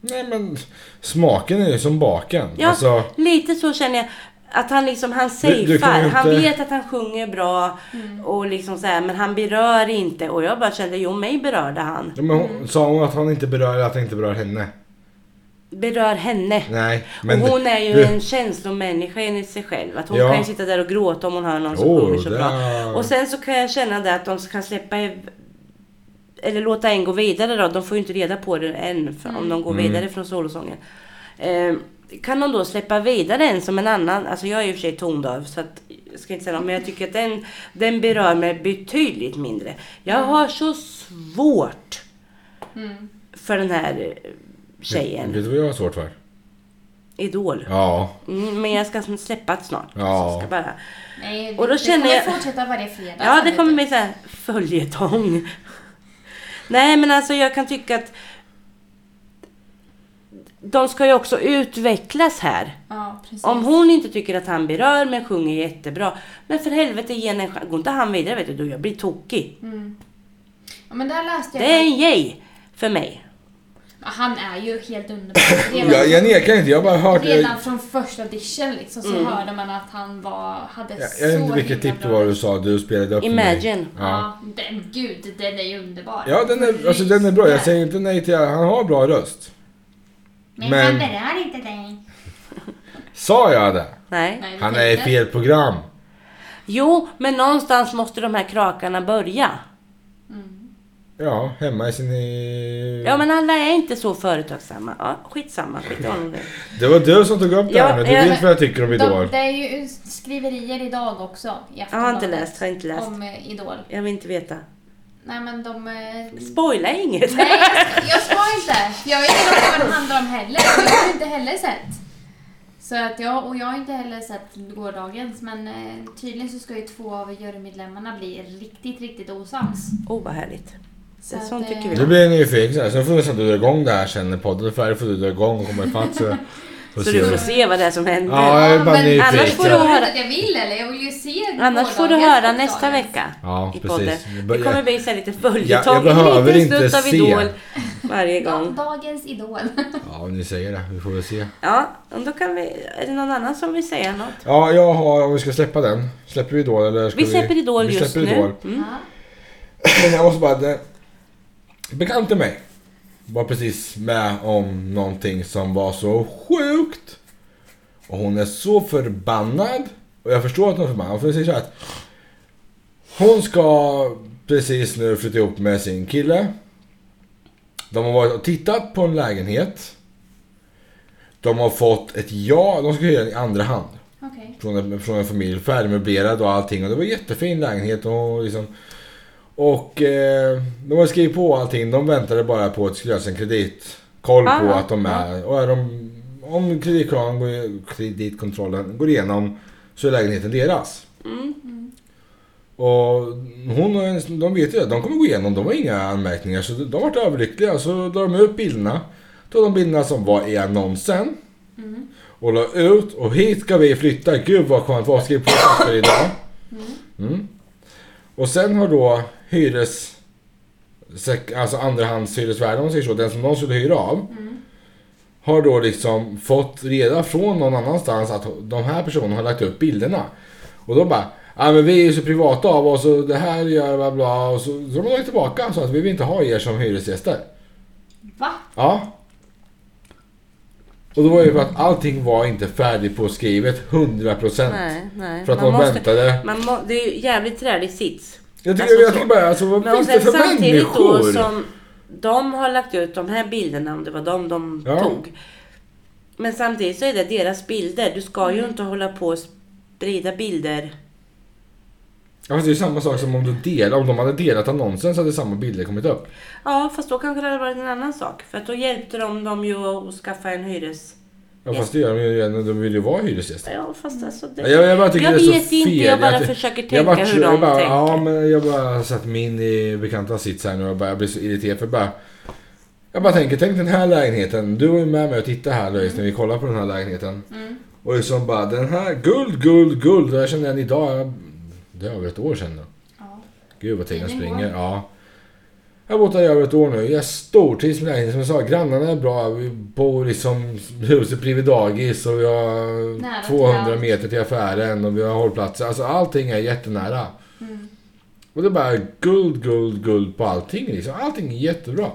Speaker 1: Nej men... Smaken är ju som baken.
Speaker 3: Ja,
Speaker 1: Alltså...
Speaker 3: lite så känner jag. Att han liksom, han safear.
Speaker 1: du kan ju
Speaker 3: Han
Speaker 1: inte-
Speaker 3: vet att han sjunger bra och liksom så här, men han berör inte. Och jag bara kände, jo mig berörde han.
Speaker 1: Ja, Men hon, sa hon att han inte berör eller att han inte berör henne?
Speaker 3: Berör henne.
Speaker 1: Nej. Men
Speaker 3: och hon är ju
Speaker 1: du-
Speaker 3: en känslomänniska enligt sig själv. Att hon
Speaker 1: Ja.
Speaker 3: kan ju sitta där och gråta om hon hör någon som
Speaker 1: Jo,
Speaker 3: sjunger så
Speaker 1: det-
Speaker 3: bra. Och sen så kan jag känna det att de kan släppa ev- eller låta en gå vidare då. De får ju inte reda på det än för, om de går vidare
Speaker 1: Mm.
Speaker 3: från solosången. Eh, kan de då släppa vidare en som en annan? Alltså jag är i och för sig tondöv så att, jag ska inte säga något, men jag tycker att den, den berör mig betydligt mindre. Jag har så svårt för den här eh, tjejen.
Speaker 1: Vet du vad jag har svårt för?
Speaker 3: Idol.
Speaker 1: Ja.
Speaker 3: Mm, men jag ska släppa det snart.
Speaker 1: Ja.
Speaker 3: Så jag ska bara...
Speaker 2: Nej,
Speaker 3: Och då
Speaker 2: det
Speaker 3: känner
Speaker 2: kommer
Speaker 3: jag-
Speaker 2: fortsätta varje fredag.
Speaker 3: Ja,
Speaker 2: sen
Speaker 3: det
Speaker 2: vet
Speaker 3: kommer
Speaker 2: du.
Speaker 3: bli så här följetong. Nej, men alltså jag kan tycka att de ska ju också utvecklas här.
Speaker 2: Ja, precis.
Speaker 3: Om hon inte tycker att han berör men sjunger jättebra. Men för helvete ge henne en chans. Går inte han vidare vet du, då jag blir tokig.
Speaker 2: Mm. Ja, men där läste jag.
Speaker 3: Det är en yay för mig.
Speaker 2: Ja, Han är ju helt underbar. Redan,
Speaker 1: Jag, jag nekar inte, jag har bara hört... Jag,
Speaker 2: redan från första audition liksom,
Speaker 3: Mm.
Speaker 2: så hörde man att han var, hade
Speaker 1: jag,
Speaker 2: så
Speaker 1: jag vet inte
Speaker 2: himla
Speaker 1: vilket tipp det
Speaker 2: bra-
Speaker 1: var du sa, du spelade upp för mig.
Speaker 3: Imagine.
Speaker 1: Ja.
Speaker 2: Ja. Den, gud, den är ju underbar.
Speaker 1: Ja, den är, alltså, den är bra. Jag säger inte nej till Han har bra röst.
Speaker 2: Men,
Speaker 1: men-
Speaker 2: han berör inte dig.
Speaker 1: Sa jag det?
Speaker 3: Nej.
Speaker 2: Nej, det
Speaker 1: Han
Speaker 2: kan
Speaker 1: är i
Speaker 2: inte.
Speaker 1: fel program.
Speaker 3: Jo, men någonstans måste de här krakarna börja.
Speaker 1: Ja, hemma i sin... i-
Speaker 3: Ja, men alla är inte så företagsamma. Ja, skitsamma, skit i honom nu.
Speaker 1: Det var du som tog upp det här
Speaker 3: Ja,
Speaker 1: nu. Du
Speaker 3: jag-
Speaker 1: vet vad jag tycker om
Speaker 2: De,
Speaker 1: Idol.
Speaker 2: det är ju skriverier idag också. i
Speaker 3: Jag har inte
Speaker 2: Aftonbladet
Speaker 3: läst, har inte läst.
Speaker 2: Om eh, Idol.
Speaker 3: Jag vill inte veta.
Speaker 2: Nej men de... eh,
Speaker 3: Spoila inget.
Speaker 2: Nej, jag- jag ska inte. För Jag vet inte vad den handlar om heller. Jag har inte heller sett. Så att jag, och jag har inte heller sett gårdagens. Men eh, tydligen så ska ju två av jurymedlemmarna bli riktigt, riktigt osams.
Speaker 3: Oh, vad härligt.
Speaker 2: Så
Speaker 3: Det- sånt
Speaker 2: att, eh,
Speaker 3: tycker
Speaker 1: Du
Speaker 3: vi.
Speaker 1: blir nyfiken så här. Sen får vi se om du drar igång det här sen när podden är färdig. får du dra igång och komma ifatt. Så,
Speaker 3: Så du får se vad det är som händer.
Speaker 1: Ja, jag är bara
Speaker 2: men
Speaker 3: annars får
Speaker 1: nyfiken.
Speaker 3: du
Speaker 2: Jag
Speaker 3: höra-
Speaker 2: vet inte att jag vill eller? Jag vill ju se
Speaker 3: Annars får du
Speaker 2: gårdagens
Speaker 3: höra
Speaker 2: och
Speaker 3: nästa
Speaker 2: dagens.
Speaker 3: vecka
Speaker 1: Ja,
Speaker 3: i podden.
Speaker 1: precis.
Speaker 3: Det kommer bli så här lite följetong.
Speaker 1: jag behöver
Speaker 3: en liten
Speaker 1: inte
Speaker 3: snutt av
Speaker 1: se.
Speaker 3: Idol varje
Speaker 2: Ja,
Speaker 3: gång.
Speaker 2: dagens Idol.
Speaker 1: Ja, ni säger det. Vi får väl se.
Speaker 3: Ja, och då kan vi... Är det någon annan som vill säga något?
Speaker 1: Ja, jag har... Om vi ska släppa den. Släpper vi Idol eller? Ska
Speaker 3: Vi släpper Idol
Speaker 1: vi
Speaker 3: just
Speaker 1: släpper
Speaker 3: nu.
Speaker 1: Idol.
Speaker 3: Mm.
Speaker 2: Ja.
Speaker 1: Men jag måste bara... Det, bekant till mig var precis med om någonting som var så sjukt. Och hon är så förbannad. Och jag förstår att hon är förbannad. För det säger så här att hon ska precis nu flytta ihop med sin kille. De har varit och tittat på en lägenhet. De har fått ett ja. De ska hyra den i andra hand
Speaker 2: Okej.
Speaker 1: från en, från en familj, färdigmöblerad och allting. Och det var en jättefin lägenhet och liksom... Och eh, de har skrivit på allting. De väntade bara på att det skulle göras en kreditkoll på
Speaker 3: Ah,
Speaker 1: att de är... Och är de, om kreditkraven går, kreditkontrollen går igenom så är lägenheten deras. Och hon och hennes, de vet ju det, de kommer gå igenom, de har inga anmärkningar. Så de vart överlyckliga. Så la de upp bilderna. Tog de bilderna som var i annonsen. Och la ut och hit ska vi flytta. Gud vad skönt, vad ska vi på för idag? Mm. Och sen har då hyres... sek- Alltså andrahandshyresvärden om man säger så, den som de skulle hyra av. Har då liksom fått reda från någon annanstans att de här personerna har lagt upp bilderna. Och de bara Ja men vi är ju så privata av oss och det här gör bla bla och så, så de har lagt tillbaka så att vi vill inte ha er som hyresgäster.
Speaker 2: Va?
Speaker 1: Ja. Och då var det för att allting var inte färdigt på skrivet 100%.
Speaker 3: Nej, nej.
Speaker 1: För att
Speaker 3: Man
Speaker 1: de
Speaker 3: måste-
Speaker 1: väntade.
Speaker 3: Man må, det är ju jävligt trälig sits.
Speaker 1: Jag tycker,
Speaker 3: Alltså
Speaker 1: jag
Speaker 3: så.
Speaker 1: tycker bara alltså vad
Speaker 3: Men och
Speaker 1: finns det
Speaker 3: sen
Speaker 1: för
Speaker 3: samtidigt då
Speaker 1: människor?
Speaker 3: som de har lagt ut de här bilderna, om det var de de
Speaker 1: Ja.
Speaker 3: tog. Men samtidigt så är det deras bilder. Du ska ju inte hålla på och sprida bilder.
Speaker 1: Ja, fast det är ju samma sak som om du delar, om de hade delat annonsen så hade samma bilder kommit upp.
Speaker 3: Ja, fast då kanske det hade varit en annan sak. För att då hjälpte de dem ju att skaffa en hyres...
Speaker 1: Ja, fast det gör de ju redan, de vill ju vara hyresgäster.
Speaker 3: Ja, fast alltså det...
Speaker 1: Mm. Ja, Jag, jag bara tycker
Speaker 3: Jag
Speaker 1: det är så
Speaker 3: vet
Speaker 1: fel.
Speaker 3: inte, jag bara
Speaker 1: ty-
Speaker 3: försöker
Speaker 1: jag bara-
Speaker 3: tänka hur
Speaker 1: jag
Speaker 3: de
Speaker 1: bara, Ja,
Speaker 3: tänker.
Speaker 1: men jag bara satt mig in i bekanta sits här nu och bara, jag blir så irriterad för bara... Jag bara tänker, tänk den här lägenheten. Du var ju med mig och tittade här Louise när vi kollade på den här lägenheten. Och liksom bara, den här, guld, guld, guld. Och jag känner igen idag, jag- det är över ett år sedan nu.
Speaker 2: Ja.
Speaker 1: Gud vad tiden
Speaker 2: Tiden
Speaker 1: springer.
Speaker 2: går.
Speaker 1: Ja. Jag har bott här i över ett år nu. Jag stortrivs med lägenheten. Som jag sa, grannarna är bra. Vi bor liksom huset bredvid dagis och vi har
Speaker 2: Nära till
Speaker 1: 200
Speaker 2: allt.
Speaker 1: meter till affären och vi har hållplatser. Alltså allting är jättenära.
Speaker 2: Mm.
Speaker 1: Och det är bara guld, guld, guld på allting liksom. Allting är jättebra.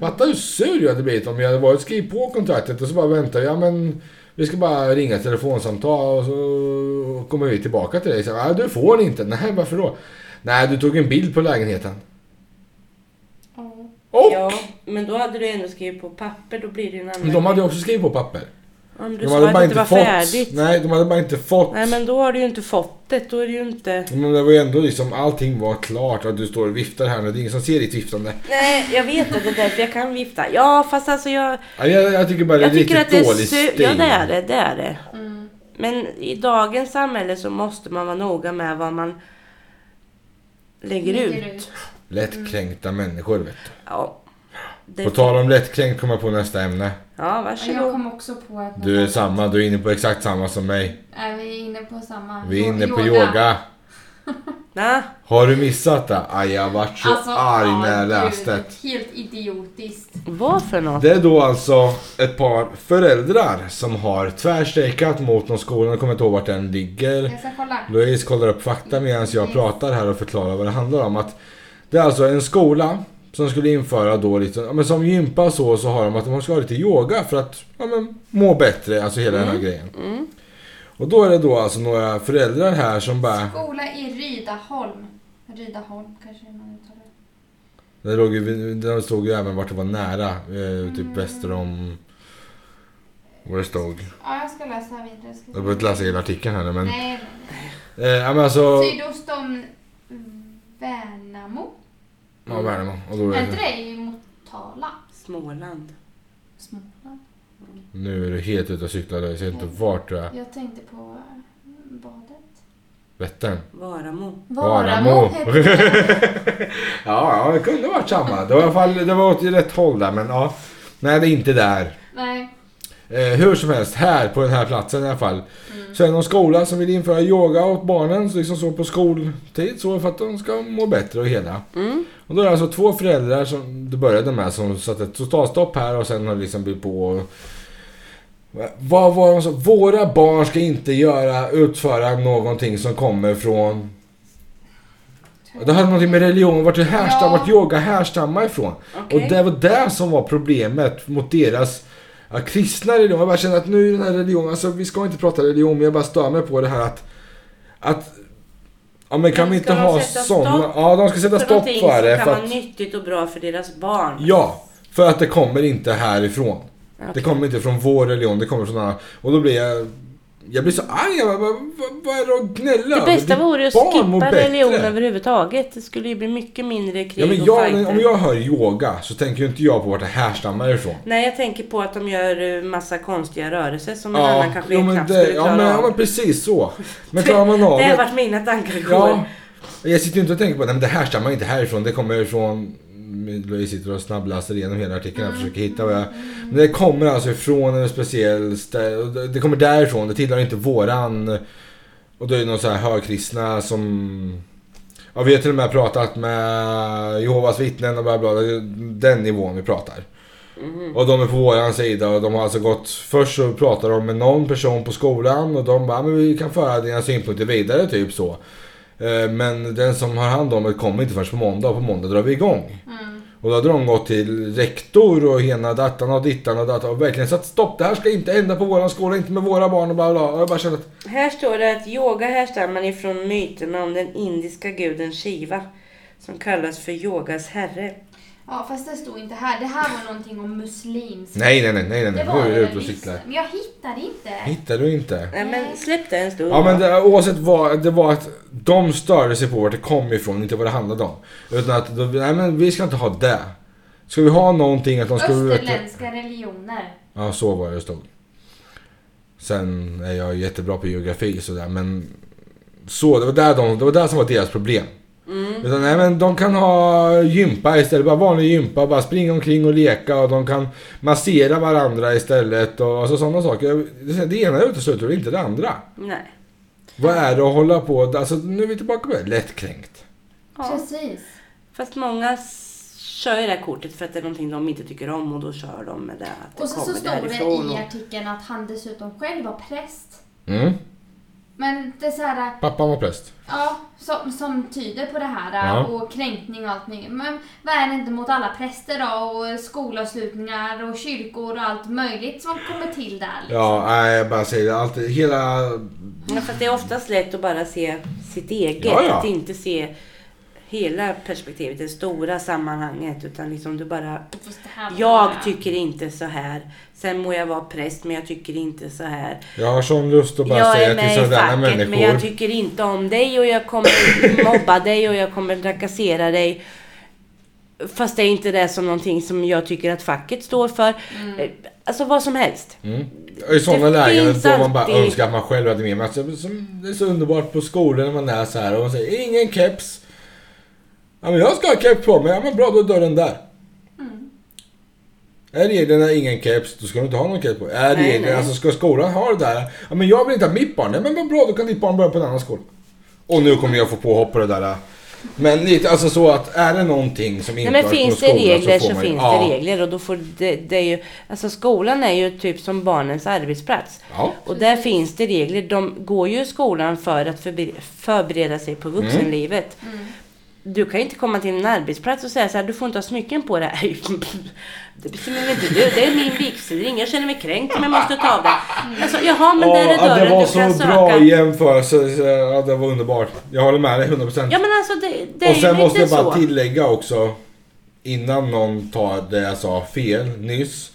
Speaker 1: Fatta hur sur jag hade blivit om jag hade varit skrivit på kontraktet och så bara väntar jag. men vi ska bara ringa ett telefonsamtal och så kommer vi tillbaka till dig. Så, Nej, du får inte. Nej, varför då? Nej, du tog en bild på lägenheten. Och
Speaker 3: Ja, men då hade du ändå skrivit på papper, då blir det ju en annan...
Speaker 1: de hade också skrivit på papper.
Speaker 3: Om du
Speaker 1: De
Speaker 3: sa
Speaker 1: hade
Speaker 3: att det inte var färdigt.
Speaker 1: fått. Nej, de hade bara inte fått.
Speaker 3: Nej, men då har du ju inte fått det. Då är det ju inte...
Speaker 1: Men det var ju ändå liksom allting var klart att du står och viftar här nu. Det är ingen som ser ditt viftande.
Speaker 3: Nej, jag vet att det är därför jag kan vifta. Ja, fast alltså jag...
Speaker 1: Ja, Jag, jag tycker bara det är
Speaker 3: Jag tycker
Speaker 1: riktigt
Speaker 3: att det är
Speaker 1: dålig
Speaker 3: su-
Speaker 1: stil.
Speaker 3: Ja, det är det. det, är det. Men i dagens samhälle så måste man vara noga med vad man lägger,
Speaker 2: Lägger
Speaker 3: ut.
Speaker 2: ut.
Speaker 1: Lättkränkta människor vet du.
Speaker 3: Ja. Det
Speaker 1: På tal om lättkränkt kommer jag på nästa ämne.
Speaker 3: Ja,
Speaker 2: Och Jag
Speaker 3: varsågod.
Speaker 2: kom också på att...
Speaker 1: Du är samma, du är inne på exakt samma som mig.
Speaker 2: Nej, vi är inne på samma.
Speaker 1: Vi är inne på yoga.
Speaker 3: Ja,
Speaker 1: Har du missat det? Aj, jag vart så arg när jag läste det.
Speaker 2: Alltså, det. Helt idiotiskt.
Speaker 3: vad för något?
Speaker 1: Det är då alltså ett par föräldrar som har tvärstrejkat mot någon skola, jag kommer inte ihåg vart den ligger.
Speaker 2: Jag ska kolla.
Speaker 1: Louise kollar upp fakta medan jag pratar här och förklarar vad det handlar om. Att det är alltså en skola som skulle införa då lite, ja, men som gympa och så, så har de att de ska ha lite yoga för att ja, men, må bättre, alltså hela
Speaker 2: Mm.
Speaker 1: den här grejen.
Speaker 3: Mm.
Speaker 1: Och då är det då alltså några föräldrar här som bara,
Speaker 2: Skola i Rydaholm. Rydaholm kanske man uttalar det.
Speaker 1: det låg ju, det stod ju även vart det var nära, eh, typ väster om, vad det stod.
Speaker 2: Ja, jag ska läsa här vidare. Ska
Speaker 1: Jag behöver inte läsa hela artikeln här nu, men,
Speaker 2: Nej, Typ. nej.
Speaker 1: eh, ja, men alltså,
Speaker 2: Sydost om Värnamo.
Speaker 1: ja, Värnamo. Och då är
Speaker 2: Är inte
Speaker 1: det,
Speaker 2: det i Motala?
Speaker 3: Småland.
Speaker 2: Småland?
Speaker 1: nu är du helt ute och cyklar, jag ser inte vart du är.
Speaker 2: Jag tänkte på eh, badet.
Speaker 1: Vättern.
Speaker 3: Varamo.
Speaker 1: Varamo.
Speaker 2: heter det.
Speaker 1: Ja, ja, det kunde varit samma. Det var i alla fall det var åt rätt håll där, men ja. Nej, det är inte där.
Speaker 2: Nej.
Speaker 1: Eh, hur som helst, här på den här platsen i alla fall. Så är det någon skola som vill införa yoga åt barnen, så liksom så på skoltid, så för att de ska må bättre och hela.
Speaker 3: Mm.
Speaker 1: Och då är det alltså två föräldrar som det började med som satte ett totalstopp här och sen har det liksom blivit på och... Vad var de så? Våra barn ska inte göra, utföra någonting som kommer från och Det hade någonting med religion, vart det härstam,
Speaker 2: Ja.
Speaker 1: vart yoga härstammar ifrån.
Speaker 3: Okej.
Speaker 1: Och det var det som var problemet mot deras ja, kristna religion. Jag bara känner att nu är den här religionen, alltså vi ska inte prata religion men jag bara stör mig på det här att... att ja men kan
Speaker 3: Men
Speaker 1: vi
Speaker 3: ska
Speaker 1: inte
Speaker 3: de
Speaker 1: ha
Speaker 3: sätta
Speaker 1: sådana?
Speaker 3: stopp
Speaker 1: Ja de ska sätta
Speaker 3: För
Speaker 1: stopp
Speaker 3: någonting
Speaker 1: för
Speaker 3: som
Speaker 1: det.
Speaker 3: kan
Speaker 1: För
Speaker 3: vara
Speaker 1: att,
Speaker 3: nyttigt och bra för deras barn.
Speaker 1: ja, för att det kommer inte härifrån. Det
Speaker 3: Okej.
Speaker 1: kommer inte från vår religion, det kommer från annan. Och då blir jag... Jag blir så arg, jag bara, vad, vad, vad är det att gnälla
Speaker 3: Det
Speaker 1: över?
Speaker 3: bästa
Speaker 1: Ditt
Speaker 3: vore att
Speaker 1: barn mår
Speaker 3: skippa
Speaker 1: bättre.
Speaker 3: religion överhuvudtaget. Det skulle ju bli mycket mindre krig
Speaker 1: Ja, men
Speaker 3: och
Speaker 1: jag,
Speaker 3: fighter.
Speaker 1: om jag hör yoga så tänker ju inte jag på vart det härstammar ifrån.
Speaker 3: Nej, jag tänker på att de gör eh, massa konstiga rörelser som en
Speaker 1: Ja,
Speaker 3: annan kanske
Speaker 1: jo, men
Speaker 3: knappt
Speaker 1: det,
Speaker 3: skulle
Speaker 1: ja,
Speaker 3: klara
Speaker 1: men, ja,
Speaker 3: av.
Speaker 1: men precis så. Men klarar man av
Speaker 3: Det har
Speaker 1: det...
Speaker 3: varit mina tankar igår.
Speaker 1: Ja, jag sitter ju inte och tänker på nej, men det härstammar inte härifrån. Det kommer från... Louise sitter och snabbläser igenom hela artikeln och försöker hitta vad jag... Men det kommer alltså ifrån en speciell stä- och det- Det kommer därifrån, det tillhör inte våran... Och då är det någon så här högkristna som... Ja, vi har till och med pratat med Jehovas vittnen och bla bla. bla. Det är Den nivån vi pratar. Och de är på våran sida och de har alltså gått... Först så pratar de med någon person på skolan och de bara, men vi kan föra dina synpunkter vidare typ så. Eh, Men den som har hand om det kommer inte förrän på måndag och på måndag drar vi igång.
Speaker 2: Mm.
Speaker 1: Och då hade de gått till rektor och ena dattan och dittan och dattan och verkligen satt stopp. Det här ska inte hända på våran skola, inte med våra barn och bla bla. Och jag bara kände att
Speaker 3: Här står det att yoga härstammar ifrån myterna om den indiska guden Shiva som kallas för yogas herre.
Speaker 2: Ja, fast det stod inte här. Det här var någonting om muslims.
Speaker 1: nej, nej, nej, nej,
Speaker 2: Det
Speaker 1: nej.
Speaker 2: var
Speaker 1: Nu är du
Speaker 2: det
Speaker 1: ute och
Speaker 2: väl visst.
Speaker 1: cyklar.
Speaker 2: Men jag hittar inte.
Speaker 1: Hittar du inte?
Speaker 3: Nej men släpp det en stund.
Speaker 1: Ja men det, oavsett vad, det var att de störde sig på vart det kom ifrån, inte vad det handlade om. Utan att, de- nej men vi ska inte ha det. Ska vi ha någonting att de ska...
Speaker 2: Österländska religioner.
Speaker 1: Ja, så var det det stod. Sen är jag jättebra på geografi sådär men... Så, det var där, de, det var där som var deras problem.
Speaker 3: Mm.
Speaker 1: Utan, nej, men de kan ha gympa istället, bara vanlig gympa, bara springa omkring och leka och de kan massera varandra istället och alltså, sådana saker. Jag- Det ena utesluter väl inte det andra.
Speaker 3: Nej.
Speaker 1: Vad är det att hålla på, alltså nu är vi tillbaka på det, lättkränkt.
Speaker 3: Ja.
Speaker 2: Precis.
Speaker 3: Fast många s- kör ju det här kortet för att det är någonting de inte tycker om och då kör de med det. Att det
Speaker 2: Och så, så
Speaker 3: kommer
Speaker 2: stod det
Speaker 3: därifrån
Speaker 2: i
Speaker 3: och-
Speaker 2: artikeln att han dessutom själv var präst.
Speaker 1: Mm.
Speaker 2: Men det är så här,
Speaker 1: Pappan var präst.
Speaker 2: ja, som, som tyder på det här
Speaker 1: Ja.
Speaker 2: och kränkning och allt möjligt. Men vad är det inte mot alla präster då och skolavslutningar och kyrkor och allt möjligt som kommer till där? liksom?
Speaker 1: Ja, nej jag bara säger det, allt, hela
Speaker 3: Men för att det är oftast lätt att bara se sitt eget.
Speaker 1: Ja, ja.
Speaker 3: Att inte se hela perspektivet, det stora sammanhanget. Utan liksom du bara
Speaker 2: Fast det här var bara-
Speaker 3: Jag tycker inte så här. Sen må jag vara präst, men jag tycker inte så här.
Speaker 1: Jag har sån lust att bara
Speaker 3: Jag
Speaker 1: säga
Speaker 3: är
Speaker 1: till
Speaker 3: med i
Speaker 1: sådana
Speaker 3: facket,
Speaker 1: människor.
Speaker 3: men jag tycker inte om dig och jag kommer mobba dig och jag kommer trakassera dig. Fast det är inte det som någonting som jag tycker att facket står för. Alltså vad som helst.
Speaker 1: mm. I sådana
Speaker 3: Det
Speaker 1: lägen
Speaker 3: finns
Speaker 1: då man bara
Speaker 3: alltid-
Speaker 1: önskar att man själv hade med sig. Alltså, som- Det är så underbart på skolor när man är så här och man säger ingen keps. Ja, men jag ska ha keps på mig. Ja, men bra, då är dörren där.
Speaker 2: Mm.
Speaker 1: Är reglerna ingen keps, då ska du inte ha någon keps på
Speaker 3: Nej,
Speaker 1: Är reglerna,
Speaker 3: nej.
Speaker 1: alltså ska skolan ha det där? Ja, men jag vill inte ha mitt barn. Nej, men vad bra, då kan ditt barn börja på en annan skola. Och nu kommer jag få påhopp på det där. Men lite, alltså så att är det någonting som
Speaker 3: Nej,
Speaker 1: inte
Speaker 3: men finns det regler så, finns
Speaker 1: ja.
Speaker 3: det regler och då får det, det är ju, alltså skolan är ju typ som barnens arbetsplats.
Speaker 1: Ja.
Speaker 3: Och där finns det regler. De går ju i skolan för att förbe- förbereda sig på
Speaker 1: Mm.
Speaker 3: vuxenlivet. Du kan ju inte komma till en arbetsplats och säga så här, du får inte ha smycken på dig. Det bestämmer väl inte du, det är min vigselring, jag känner mig kränkt men jag måste ta av den. Alltså, jaha, men där är
Speaker 1: ja,
Speaker 3: dörren,
Speaker 1: det var
Speaker 3: du kan
Speaker 1: så
Speaker 3: söka.
Speaker 1: bra jämförelse. så- Ja, det var underbart. Jag håller med dig 100%.
Speaker 3: Ja men alltså det, det är
Speaker 1: och sen
Speaker 3: ju
Speaker 1: måste
Speaker 3: lite
Speaker 1: jag bara
Speaker 3: så.
Speaker 1: tillägga också. Innan någon tar det jag sa fel nyss.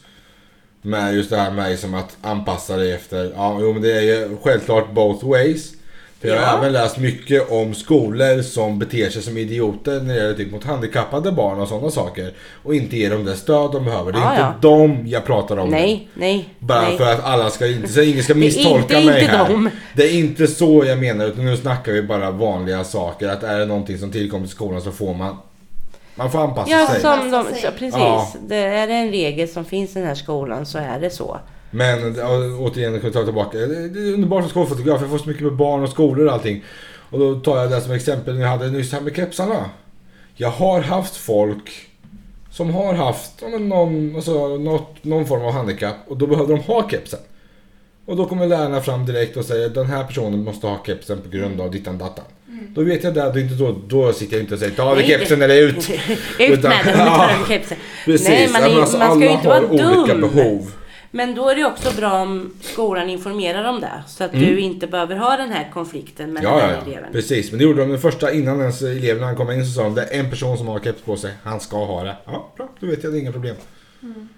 Speaker 1: Med just det här med liksom att anpassa dig efter. Ja, jo, men det är ju självklart both ways. För jag har
Speaker 3: Ja.
Speaker 1: även läst mycket om skolor som beter sig som idioter när det gäller typ mot handikappade barn och sådana saker. Och inte ger dem det stöd de behöver. Det är
Speaker 3: Ja,
Speaker 1: inte
Speaker 3: ja.
Speaker 1: dem jag pratar om. nu.
Speaker 3: Nej, nej,
Speaker 1: Bara
Speaker 3: nej.
Speaker 1: för att alla ska inte, så ingen ska
Speaker 3: är
Speaker 1: misstolka
Speaker 3: inte-
Speaker 1: mig
Speaker 3: inte
Speaker 1: här.
Speaker 3: dem.
Speaker 1: Det är inte så jag menar utan nu snackar vi bara vanliga saker. Att är det någonting som tillkommer till skolan så får man, man får anpassa
Speaker 3: Ja,
Speaker 1: sig.
Speaker 3: som de,
Speaker 2: Anpassa sig.
Speaker 3: ja, precis.
Speaker 1: Alltså, Ja.
Speaker 3: Det är det en regel som finns i den här skolan så är det så.
Speaker 1: Men å- återigen, jag kan ta tillbaka. Det det är underbart som skolfotograf, jag får så mycket med barn och skolor och allting. Och då tar jag det som exempel jag hade nyss här med kepsarna. Jag har haft folk som har haft ja, men någon, alltså, något, någon form av handikapp och då behövde de ha kepsen. Och då kommer lärarna fram direkt och säger den här personen måste ha kepsen på grund av dittan dattan. Då vet jag det, det är inte då, då sitter jag inte och säger ta av dig
Speaker 3: Mm. Nej.
Speaker 1: kepsen eller ut.
Speaker 3: Ut
Speaker 1: Utan-
Speaker 3: med den,
Speaker 1: Ja,
Speaker 3: ta den kepsen.
Speaker 1: Precis,
Speaker 3: Nej, man,
Speaker 1: Ja,
Speaker 3: är,
Speaker 1: men
Speaker 3: man
Speaker 1: alltså,
Speaker 3: ska ju
Speaker 1: alla
Speaker 3: inte
Speaker 1: har
Speaker 3: vara
Speaker 1: olika
Speaker 3: dum.
Speaker 1: behov.
Speaker 3: Men då är det också bra om skolan informerar om det. Så att du inte behöver ha den här konflikten med
Speaker 1: Mm. Ja,
Speaker 3: den
Speaker 1: ja,
Speaker 3: här
Speaker 1: ja.
Speaker 3: eleven.
Speaker 1: Precis, men det gjorde de den första innan ens eleverna kom in så sa de det är en person som har keps på sig, han ska ha det. Ja, bra, då vet jag, det är inga problem.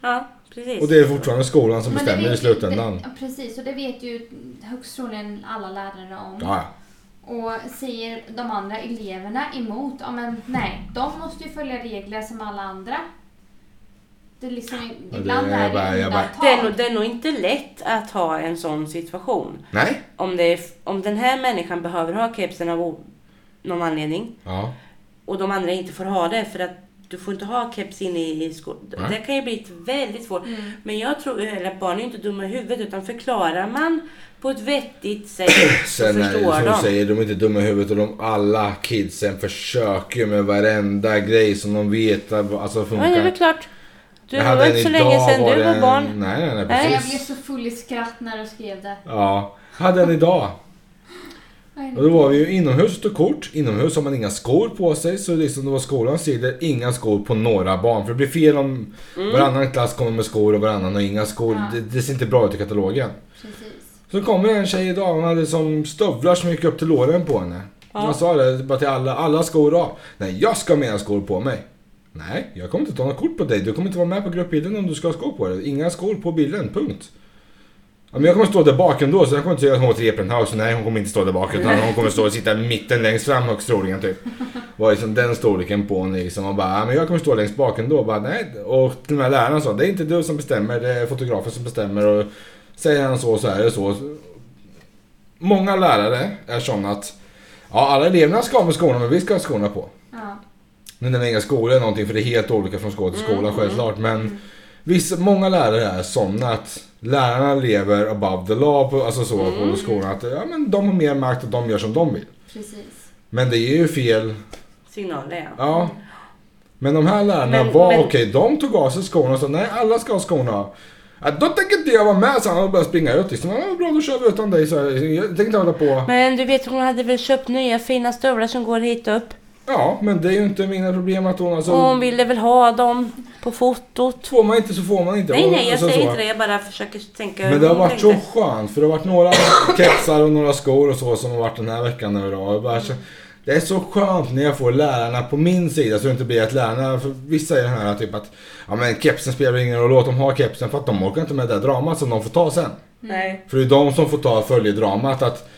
Speaker 3: Ja, precis.
Speaker 1: Och det är fortfarande skolan som
Speaker 2: Men det
Speaker 1: bestämmer i
Speaker 2: vet ju-
Speaker 1: slutändan.
Speaker 2: det- ja, Precis, och det vet ju högst troligen alla lärare om.
Speaker 1: Ja,
Speaker 2: Och säger de andra eleverna emot, ja men nej, de måste ju följa regler som alla andra. Det är liksom,
Speaker 1: det
Speaker 2: ibland
Speaker 1: är
Speaker 2: är
Speaker 1: bara-
Speaker 2: det
Speaker 1: jag bara-
Speaker 2: undantag.
Speaker 3: det, är nog, det är nog inte lätt att ha en sån situation.
Speaker 1: nej.
Speaker 3: Om, det är, om den här människan behöver ha kepsen av o- någon anledning.
Speaker 1: Ja.
Speaker 3: och de andra inte får ha det för att du får inte ha keps inne i i sko.
Speaker 1: Nej.
Speaker 3: Det kan ju bli ett väldigt svårt. Men jag tror, eller barn är ju inte dumma i huvudet utan förklarar man på ett vettigt sätt så
Speaker 1: Sen är det ju
Speaker 3: förstår
Speaker 1: som du
Speaker 3: de.
Speaker 1: säger, de är inte dumma i huvudet och de alla kidsen försöker ju med varenda grej som de vet att- alltså
Speaker 3: ja, det är väl
Speaker 1: funkar.
Speaker 3: klart. Du,
Speaker 1: Jag
Speaker 3: det
Speaker 1: hade
Speaker 3: var
Speaker 1: en
Speaker 3: inte så
Speaker 1: idag
Speaker 3: länge sedan du
Speaker 1: det
Speaker 3: var
Speaker 1: en-
Speaker 3: barn.
Speaker 1: Nej, nej, nej,
Speaker 3: Nej.
Speaker 2: Jag blev
Speaker 1: precis.
Speaker 2: så full i skratt när du skrev det.
Speaker 1: Ja, hade en idag. Och då var vi ju inomhus och tog kort. Inomhus har man inga skor på sig. Så liksom det var skolans sidor, inga skor på några barn. För det blir fel om varannan klass kommer med skor och varannan har inga skor.
Speaker 2: Ja.
Speaker 1: Det, det ser inte bra ut i katalogen.
Speaker 2: Precis.
Speaker 1: Så kommer en tjej idag, hon hade som stövlar som gick upp till låren på henne.
Speaker 3: Ja.
Speaker 1: Jag sa det bara till alla, alla skor av. Nej, jag ska ha mina skor på mig. Nej, jag kommer inte ta något kort på dig. Du kommer inte vara med på gruppbilden om du ska ha skor på dig. Inga skor på bilden, punkt. Ja, men jag kommer stå där bak ändå så jag kommer inte säga att hon åt Repenhaus. Nej, hon kommer inte stå där bak utan hon kommer stå och sitta i mitten längst fram högst troligen typ. Var liksom den storleken på henne liksom och bara, ja, men jag kommer stå längst bak ändå. Bara, nej. Och till och med läraren sa, det är inte du som bestämmer, det är fotografen som bestämmer. Och säger han så så är det så. Många lärare är sådana att ja, alla eleverna ska ha med skorna men vi ska ha skorna på.
Speaker 2: Ja.
Speaker 1: Nu nämner jag inga skolor eller någonting för det är helt olika från skola till skola självklart. Men vissa, många lärare är sådana att lärarna lever above the law på, alltså så, på skolan. Att ja, men de har mer makt och de gör som de vill.
Speaker 2: Precis.
Speaker 1: Men det är ju fel.
Speaker 3: Signaler ja.
Speaker 1: Ja. Men de här lärarna
Speaker 3: Men-
Speaker 1: var
Speaker 3: men-
Speaker 1: okej. De tog av sig skorna och sa nej alla ska ha skorna av. Ja, då tänker inte jag vara med så han började springa ut. Liksom, ja, bra då kör vi utan dig. Så här, jag tänker inte hålla på.
Speaker 3: Men du vet hon hade väl köpt nya fina stövlar som går hit upp.
Speaker 1: Ja, men det är ju inte mina problem att hon alltså...
Speaker 3: Och hon ville väl ha dem på fotot.
Speaker 1: Får man inte så får man inte.
Speaker 3: Nej
Speaker 1: Och-
Speaker 3: nej jag
Speaker 1: alltså
Speaker 3: säger
Speaker 1: så.
Speaker 3: inte det. Jag bara försöker tänka hur
Speaker 1: Men det har
Speaker 3: hon
Speaker 1: varit så
Speaker 3: tänkte.
Speaker 1: skönt för det har varit några kepsar och några skor och så som har varit den här veckan nu då. Och jag bara, så- Det är så skönt när jag får lärarna på min sida så det inte blir att lärarna, för vissa är den här typ att ja men kepsen spelar ingen roll, låt dem ha kepsen för att de orkar inte med det där dramat som de får ta sen.
Speaker 3: Nej.
Speaker 1: För det är de som får ta följedramat att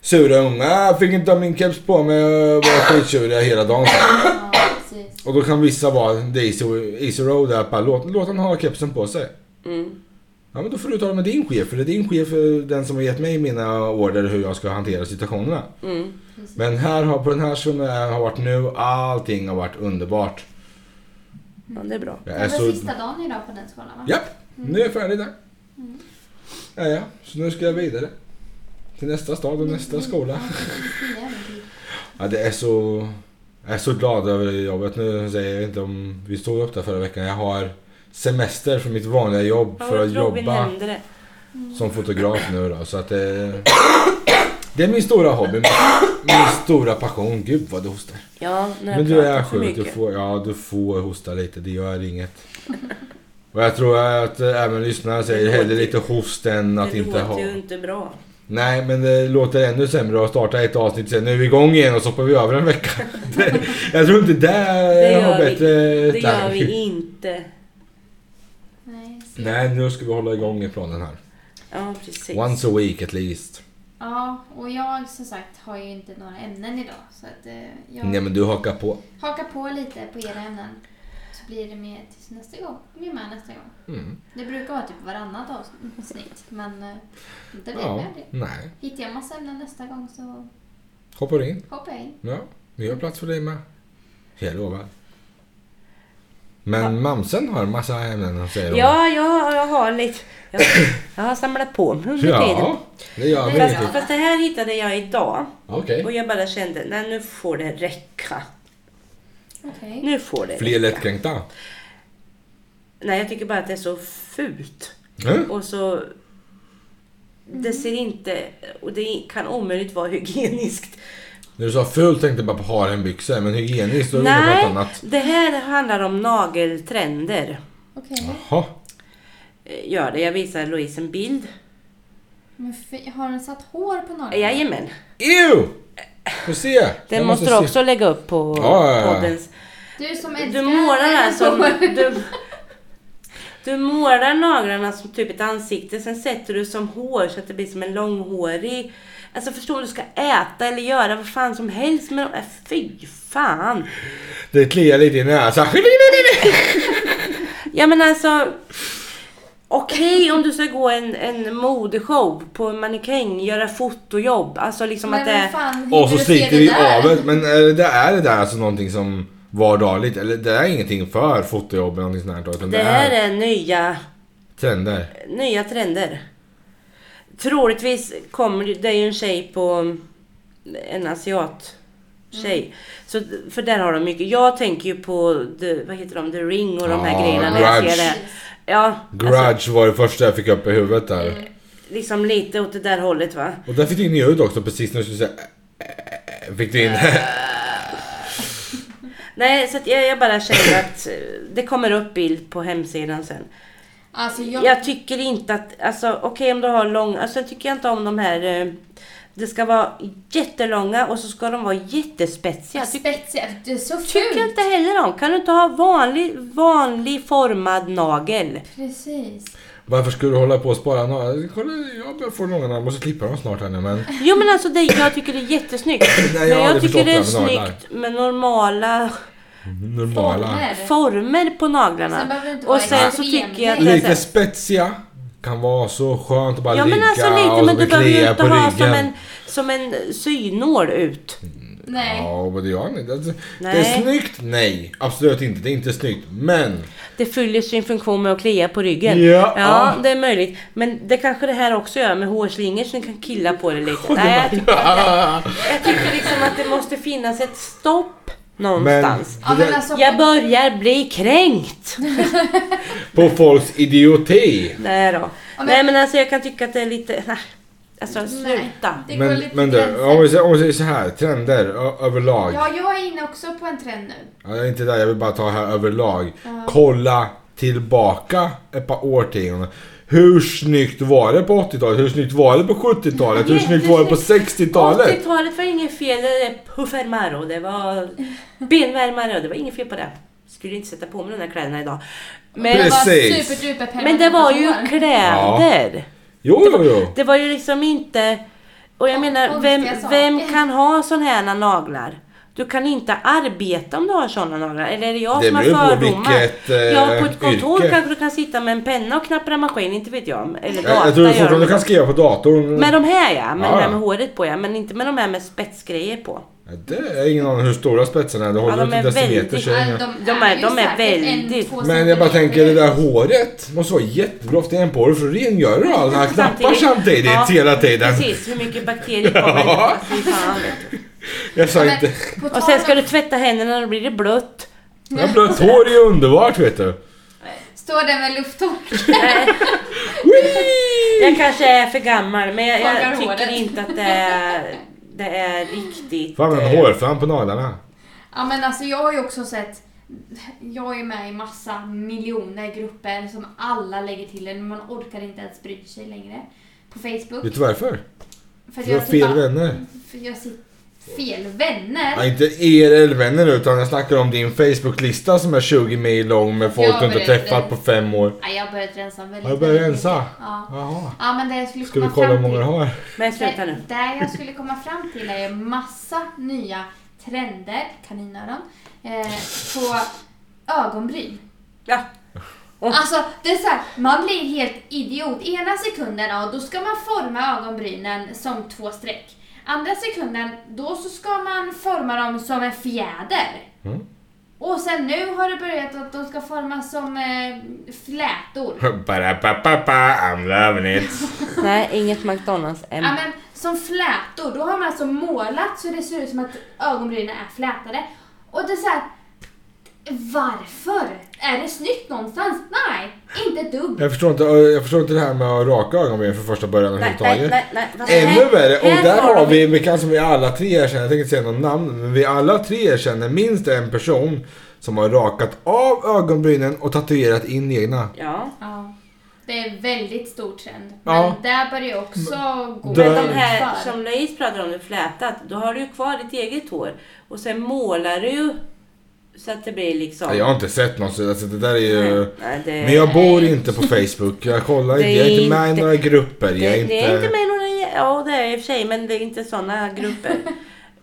Speaker 1: sura unga "Jag fick inte ha min keps på mig och var skitsuriga hela dagen.
Speaker 2: Ja, precis.
Speaker 1: Och då kan vissa vara the easy, easy road där, bara låt, låt han ha kepsen på sig.
Speaker 3: Mm.
Speaker 1: Ja, Ja men då får du tala med din chef, för det är din chef eh, den som har gett mig mina order hur jag ska hantera situationerna.
Speaker 3: Mm.
Speaker 2: Precis.
Speaker 1: Men här har, på den här som jag har varit nu, allting har varit underbart.
Speaker 3: Ja, det är bra.
Speaker 1: Jag
Speaker 2: det
Speaker 1: är
Speaker 2: var
Speaker 1: så...
Speaker 2: sista dagen idag på den skolan va?
Speaker 1: Japp, nu är jag färdig där. Ja, ja, så nu ska jag vidare. Till nästa stad och
Speaker 2: Mm.
Speaker 1: nästa skola.
Speaker 2: Ja, precis. Det är äventyr.
Speaker 1: Ja, det är så... Jag är så glad över det jobbet. Nu säger jag inte om... Vi stod upp där förra veckan. Jag har semester från mitt vanliga jobb för att jobba
Speaker 3: nämnde det.
Speaker 2: Mm,
Speaker 1: som fotograf nu då. Så att det... Det är min stora hobby. Min, min stora passion. Gud vad du hostar.
Speaker 3: Ja, när
Speaker 1: Men
Speaker 3: jag
Speaker 1: du är
Speaker 3: pratar för
Speaker 1: sjuk. Du
Speaker 3: mycket.
Speaker 1: får, ja, du får hosta lite. Det gör inget. Och jag tror att eh, även lyssnare säger
Speaker 3: Det
Speaker 1: hellre
Speaker 3: låter-
Speaker 1: lite host än att
Speaker 3: det
Speaker 1: inte ha.
Speaker 3: låter ju inte bra.
Speaker 1: Nej, men det låter ännu sämre att starta ett avsnitt och säga nu är vi igång igen och så hoppar vi över en vecka. Det, jag tror inte det,
Speaker 3: gör
Speaker 1: har
Speaker 3: vi-
Speaker 1: bättre
Speaker 3: Det gör
Speaker 1: tankar.
Speaker 3: vi inte.
Speaker 2: Nej, så-
Speaker 1: Nej, nu ska vi hålla igång i planen här.
Speaker 3: Ja, precis.
Speaker 1: Once a week at least.
Speaker 2: Ja, och jag som sagt har ju inte några ämnen idag. Så att eh, jag
Speaker 1: Nej, men du hakar på.
Speaker 2: hakar på lite på era ämnen. Så blir det med tills nästa gång. Vi är med nästa gång.
Speaker 1: Mm.
Speaker 2: Det brukar vara typ varannat avsnitt. Men eh, det vet jag
Speaker 1: Ja,
Speaker 2: aldrig.
Speaker 1: nej.
Speaker 2: Hittar jag massa ämnen nästa gång så
Speaker 1: Hoppar in.
Speaker 2: hoppar jag in.
Speaker 1: Ja, vi gör plats för dig med. Jag lovar. Men mamsen har en massa ämnen, säger hon.
Speaker 3: Ja, jag, jag har lite... Jag, jag har samlat på mig under tiden.
Speaker 1: ja det gör vi.
Speaker 3: Fast,
Speaker 1: riktigt.
Speaker 3: fast det här hittade jag idag.
Speaker 1: Okej.
Speaker 3: Och jag bara kände, nej nu får det räcka.
Speaker 2: Okej.
Speaker 3: Nu får det
Speaker 1: Fler
Speaker 3: räcka.
Speaker 1: lättkränkta.
Speaker 3: Nej, jag tycker bara att det är så fult.
Speaker 1: Mm.
Speaker 3: Och så... Det ser inte... Och det kan omöjligt vara hygieniskt.
Speaker 1: När du sa fult tänkte jag bara på harenbyxor, men hygieniskt då är det något
Speaker 3: Nej,
Speaker 1: annat.
Speaker 3: det här handlar om nageltrender.
Speaker 2: Okej.
Speaker 1: Jaha.
Speaker 3: Eh, Gör det. Jag visar Louise en bild.
Speaker 2: Men fy- Har den satt hår på några?
Speaker 3: Jajamän.
Speaker 1: Ew! Får se.
Speaker 3: Den
Speaker 1: Jag
Speaker 3: måste du
Speaker 1: se.
Speaker 3: också lägga upp på
Speaker 1: Ja, ja, ja.
Speaker 3: poddens...
Speaker 2: Du som
Speaker 3: Du
Speaker 2: älskar
Speaker 3: målar alltså...
Speaker 2: hår.
Speaker 3: Du, du målar naglarna som typ ett ansikte, sen sätter du som hår så att det blir som en långhårig... Alltså förstår du, du ska äta eller göra vad fan som helst med de äh, Fy fan!
Speaker 1: Det kliar lite i näsan.
Speaker 3: Ja men alltså... Okej om du ska gå en, en modeshow på en mannekäng, göra fotojobb. Alltså liksom
Speaker 2: Men
Speaker 3: att det...
Speaker 2: vad fan,
Speaker 1: Och så
Speaker 2: hur ser
Speaker 1: sliter
Speaker 2: det
Speaker 1: vi
Speaker 2: där?
Speaker 1: av det. Men eh, det är det där alltså någonting som vardagligt, eller det är ingenting för fotojobb eller någonting sånt här. Utan
Speaker 3: Det här är nya,
Speaker 1: trender.
Speaker 3: nya trender. Troligtvis kommer det- det är ju en tjej på en asiat tjej. Så, för där har de mycket. Jag tänker ju på, the, vad heter de, The Ring och de här
Speaker 1: Ja,
Speaker 3: grejerna när jag
Speaker 1: Ah, grudge.
Speaker 3: ser det. Ja,
Speaker 1: Grudge
Speaker 3: alltså,
Speaker 1: var det första jag fick upp i huvudet där.
Speaker 3: liksom lite åt det där hållet va.
Speaker 1: Och där fick du in ljud också precis när du skulle säga äh, äh, Fick du in
Speaker 3: Mm. Nej, så att jag, jag bara känner att eh, det kommer upp bild på hemsidan sen.
Speaker 2: Alltså jag...
Speaker 3: Jag tycker inte att, alltså okej om du har lång, alltså jag tycker inte om de här, eh, det ska vara jättelånga och så ska de vara jättespetsiga. Ty,
Speaker 2: Spetsiga. Det är så
Speaker 3: tycker jag
Speaker 2: fult.
Speaker 3: inte heller om. Kan du inte ha vanlig, vanlig formad nagel?
Speaker 2: Precis.
Speaker 1: Varför skulle du hålla på och spara några? Kolla, jag börjar få långa jag måste klippa dem snart här nu men
Speaker 3: Jo men alltså det, jag tycker det är jättesnyggt.
Speaker 1: jag
Speaker 3: Men
Speaker 1: har
Speaker 3: jag
Speaker 1: aldrig
Speaker 3: tycker
Speaker 1: förstått
Speaker 3: det är
Speaker 1: det här med naglar.
Speaker 3: snyggt med normala
Speaker 1: normala.
Speaker 2: Former.
Speaker 3: former på
Speaker 2: Sen
Speaker 3: naglarna.
Speaker 2: behöver det inte
Speaker 3: Och
Speaker 2: vara
Speaker 3: sen så
Speaker 2: extrem
Speaker 3: tycker jag att det är så
Speaker 1: Lite
Speaker 3: här-
Speaker 1: spetsiga kan vara så skönt att bara
Speaker 3: Ja men
Speaker 1: ligga
Speaker 3: alltså lite,
Speaker 1: och
Speaker 3: men
Speaker 1: så
Speaker 3: du
Speaker 1: blir
Speaker 3: behöver ju
Speaker 1: klia
Speaker 3: inte
Speaker 1: på
Speaker 3: ha som
Speaker 1: ryggen. Mm.
Speaker 3: en, som en synål ut.
Speaker 2: Nej.
Speaker 1: Ja, men det gör ni. Det, det är
Speaker 3: Nej.
Speaker 1: snyggt? Nej, absolut inte. Det är inte snyggt. Men
Speaker 3: Det fyller sin funktion med att klia på ryggen.
Speaker 1: Ja.
Speaker 3: ja det är möjligt. Men det kanske det här också gör med hårslingor så ni kan killa på det lite. Nej, jag, tycker, jag tycker liksom att det måste finnas ett stopp någonstans.
Speaker 2: Ja,
Speaker 1: det
Speaker 2: men
Speaker 1: där-
Speaker 2: alltså,
Speaker 3: Jag börjar bli kränkt.
Speaker 1: på folks idioti.
Speaker 3: Nej då.
Speaker 2: men-
Speaker 3: Nej men alltså jag kan tycka att det är lite... Nej. Alltså sluta.
Speaker 2: Det går
Speaker 1: Men,
Speaker 2: lite
Speaker 1: men du,
Speaker 2: gränser.
Speaker 1: om vi, säger, om vi säger så här, trender ö- överlag.
Speaker 2: Ja, jag är inne också på en trend nu.
Speaker 1: Ja, jag är inte där, jag vill bara ta här överlag. Kolla tillbaka ett par årtionden. Hur snyggt var det på 80-talet? Hur snyggt var det på 70-talet? Hur snyggt var det på 60-talet?
Speaker 3: 80-talet var inget fel. Det var puffärmar och det var benvärmare och det var inget fel på det. Skulle inte sätta på mig de där kläderna idag. Men,
Speaker 2: Det var
Speaker 1: Precis.
Speaker 2: superduper
Speaker 3: men det var ju
Speaker 2: permanent.
Speaker 3: kläder.
Speaker 1: Jo, jo, jo.
Speaker 3: Det var ju liksom inte... Och jag menar,
Speaker 2: Konstiga
Speaker 3: vem,
Speaker 2: saker.
Speaker 3: vem kan ha sån här naglar? Du kan inte arbeta om du har sådana normer. Eller är det jag
Speaker 1: Det
Speaker 3: som har
Speaker 1: beror på
Speaker 3: fördomar?
Speaker 1: vilket, eh,
Speaker 3: ja, på ett kontor
Speaker 1: yrke.
Speaker 3: kanske du kan sitta med en penna och knappra en maskin, inte vet jag. Eller data
Speaker 1: Jag, jag tror
Speaker 3: gör
Speaker 1: fortfarande
Speaker 3: de.
Speaker 1: du kan Ah. skriva på datorn.
Speaker 3: Med de här ja, med
Speaker 1: Ja,
Speaker 3: de här
Speaker 1: ja.
Speaker 3: med håret på ja. Men inte med de här med spetsgrejer på.
Speaker 1: Ja, Det är ingen aning hur stora spetsarna är. Det håller
Speaker 3: Ja, de
Speaker 1: inte
Speaker 3: är
Speaker 1: decimeter.
Speaker 3: väldigt-
Speaker 1: så är det inga-
Speaker 2: de är, ju
Speaker 3: de är
Speaker 2: säkert en,
Speaker 3: väldigt-
Speaker 2: två
Speaker 1: Mm. Men jag bara
Speaker 2: centimeter
Speaker 1: tänker det
Speaker 2: ut.
Speaker 1: där håret måste vara jättegrovt igen på det för rengör du alla knappar samtidigt
Speaker 3: Ja,
Speaker 1: hela tiden.
Speaker 3: Precis, hur mycket bakterier kommer
Speaker 1: Ja.
Speaker 3: ja. fan, vet du.
Speaker 1: Jag sa
Speaker 2: Men
Speaker 1: inte...
Speaker 2: på
Speaker 3: Och
Speaker 2: tal
Speaker 3: sen
Speaker 2: om-
Speaker 3: ska du tvätta händerna, då blir det blött.
Speaker 1: Men blött hår är ju underbart vet du.
Speaker 2: Står där med lufttork.
Speaker 3: Nej, jag kanske är för gammal, men jag,
Speaker 2: Fångar
Speaker 3: jag
Speaker 2: håret.
Speaker 3: tycker inte att det är, det är riktigt...
Speaker 1: Fan men
Speaker 3: eh,
Speaker 1: hårfram på naglarna.
Speaker 2: Ja men alltså jag har ju också sett jag är med i massa miljoner grupper som alla lägger till en, men man orkar inte ens bry sig längre. På Facebook.
Speaker 1: Vet du varför?
Speaker 2: För
Speaker 1: Du har
Speaker 2: sitter-
Speaker 1: fel vänner.
Speaker 2: För jag sitter... Fel vänner?
Speaker 1: Ja, inte IRL-vänner utan jag snackar om din Facebook-lista som är 20 mil lång med folk
Speaker 2: Jag
Speaker 1: du inte
Speaker 2: började-
Speaker 1: fem- på fem år.
Speaker 2: Nej, jag har börjat rensa väldigt
Speaker 1: Har du börjat
Speaker 2: väldigt
Speaker 1: rensa?
Speaker 2: mycket. Ja.
Speaker 1: Jaha.
Speaker 2: ja, men det jag skulle
Speaker 1: Ska vi
Speaker 2: komma
Speaker 1: kolla hur
Speaker 2: fram
Speaker 1: många du
Speaker 2: till...
Speaker 1: har?
Speaker 3: Men sluta nu.
Speaker 2: Det, där jag skulle komma fram till är ju massa nya trender, kaninöron, eh, på ögonbryn.
Speaker 3: Ja.
Speaker 2: Alltså, det är så här, man blir helt idiot. Ena sekunden, ja, då ska man forma ögonbrynen som två streck. Andra sekunden, då så ska man forma dem som en fjäder.
Speaker 1: Mm.
Speaker 2: Och sen nu har det börjat att de ska formas som eh, flätor.
Speaker 1: Ba-da-ba-ba-ba, I'm loving it.
Speaker 3: Nej, inget McDonalds än.
Speaker 2: Ja, men som flätor. Då har man alltså målat så det ser ut som att ögonbrynen är flätade. Och det är så här, varför? Är det snyggt någonstans? Nej, inte ett dugg.
Speaker 1: Jag förstår, inte, jag förstår inte det här med att raka ögonbryn från första början
Speaker 3: Nej, nej,
Speaker 1: överhuvudtaget.
Speaker 3: nej, nej. Fast
Speaker 1: Ännu
Speaker 3: här-
Speaker 1: värre, och
Speaker 3: här
Speaker 1: där har
Speaker 3: de-
Speaker 1: vi, vi kan som vi alla tre erkänner, jag tänker inte säga något namn, men vi alla tre erkänner minst en person som har rakat av ögonbrynen och tatuerat in egna.
Speaker 3: Ja.
Speaker 2: Ja. Det är en väldigt stor trend.
Speaker 1: Ja.
Speaker 2: Men där börjar jag också gå
Speaker 1: Där-
Speaker 3: Men de här
Speaker 2: för.
Speaker 3: som Louise pratar om, nu, flätat, då har du ju kvar ditt eget hår. Och sen målar du ju så att det blir liksom...
Speaker 1: Nej, Jag har inte sett någon så alltså, det där är ju...
Speaker 3: Nej, nej, det,
Speaker 1: Men jag bor inte på Facebook, jag kollar
Speaker 3: Det
Speaker 1: inte, jag är
Speaker 3: är
Speaker 1: inte med i
Speaker 3: inte-
Speaker 1: några grupper.
Speaker 3: det,
Speaker 1: Jag är
Speaker 3: det är inte
Speaker 1: inte...
Speaker 3: med några... Ja, det är jag i och för sig, men det är inte sådana grupper.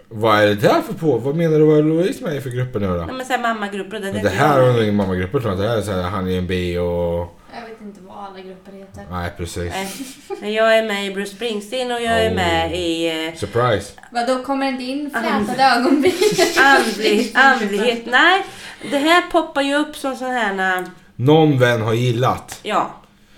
Speaker 1: Vad är det där för på? Vad menar du, vad är Louise med i för grupper nu då?
Speaker 3: Nej, men så här mammagrupper och det,
Speaker 1: Men
Speaker 3: inte
Speaker 1: det här
Speaker 3: jag.
Speaker 1: har nog ingen mammagrupper tror jag, det här är såhär, han i en bio och...
Speaker 2: Jag vet inte vad alla grupper heter.
Speaker 1: Nej precis.
Speaker 3: Nej. Eh, Men Jag är med i Bruce Springsteen och jag är
Speaker 1: Oh.
Speaker 3: med i eh,
Speaker 1: Surprise.
Speaker 2: Vadå, kommer det in flätade ögonbryn?
Speaker 3: andlig, andlighet. Nej, det här poppar ju upp som sån här... eh,
Speaker 1: Någon vän har gillat.
Speaker 3: Ja,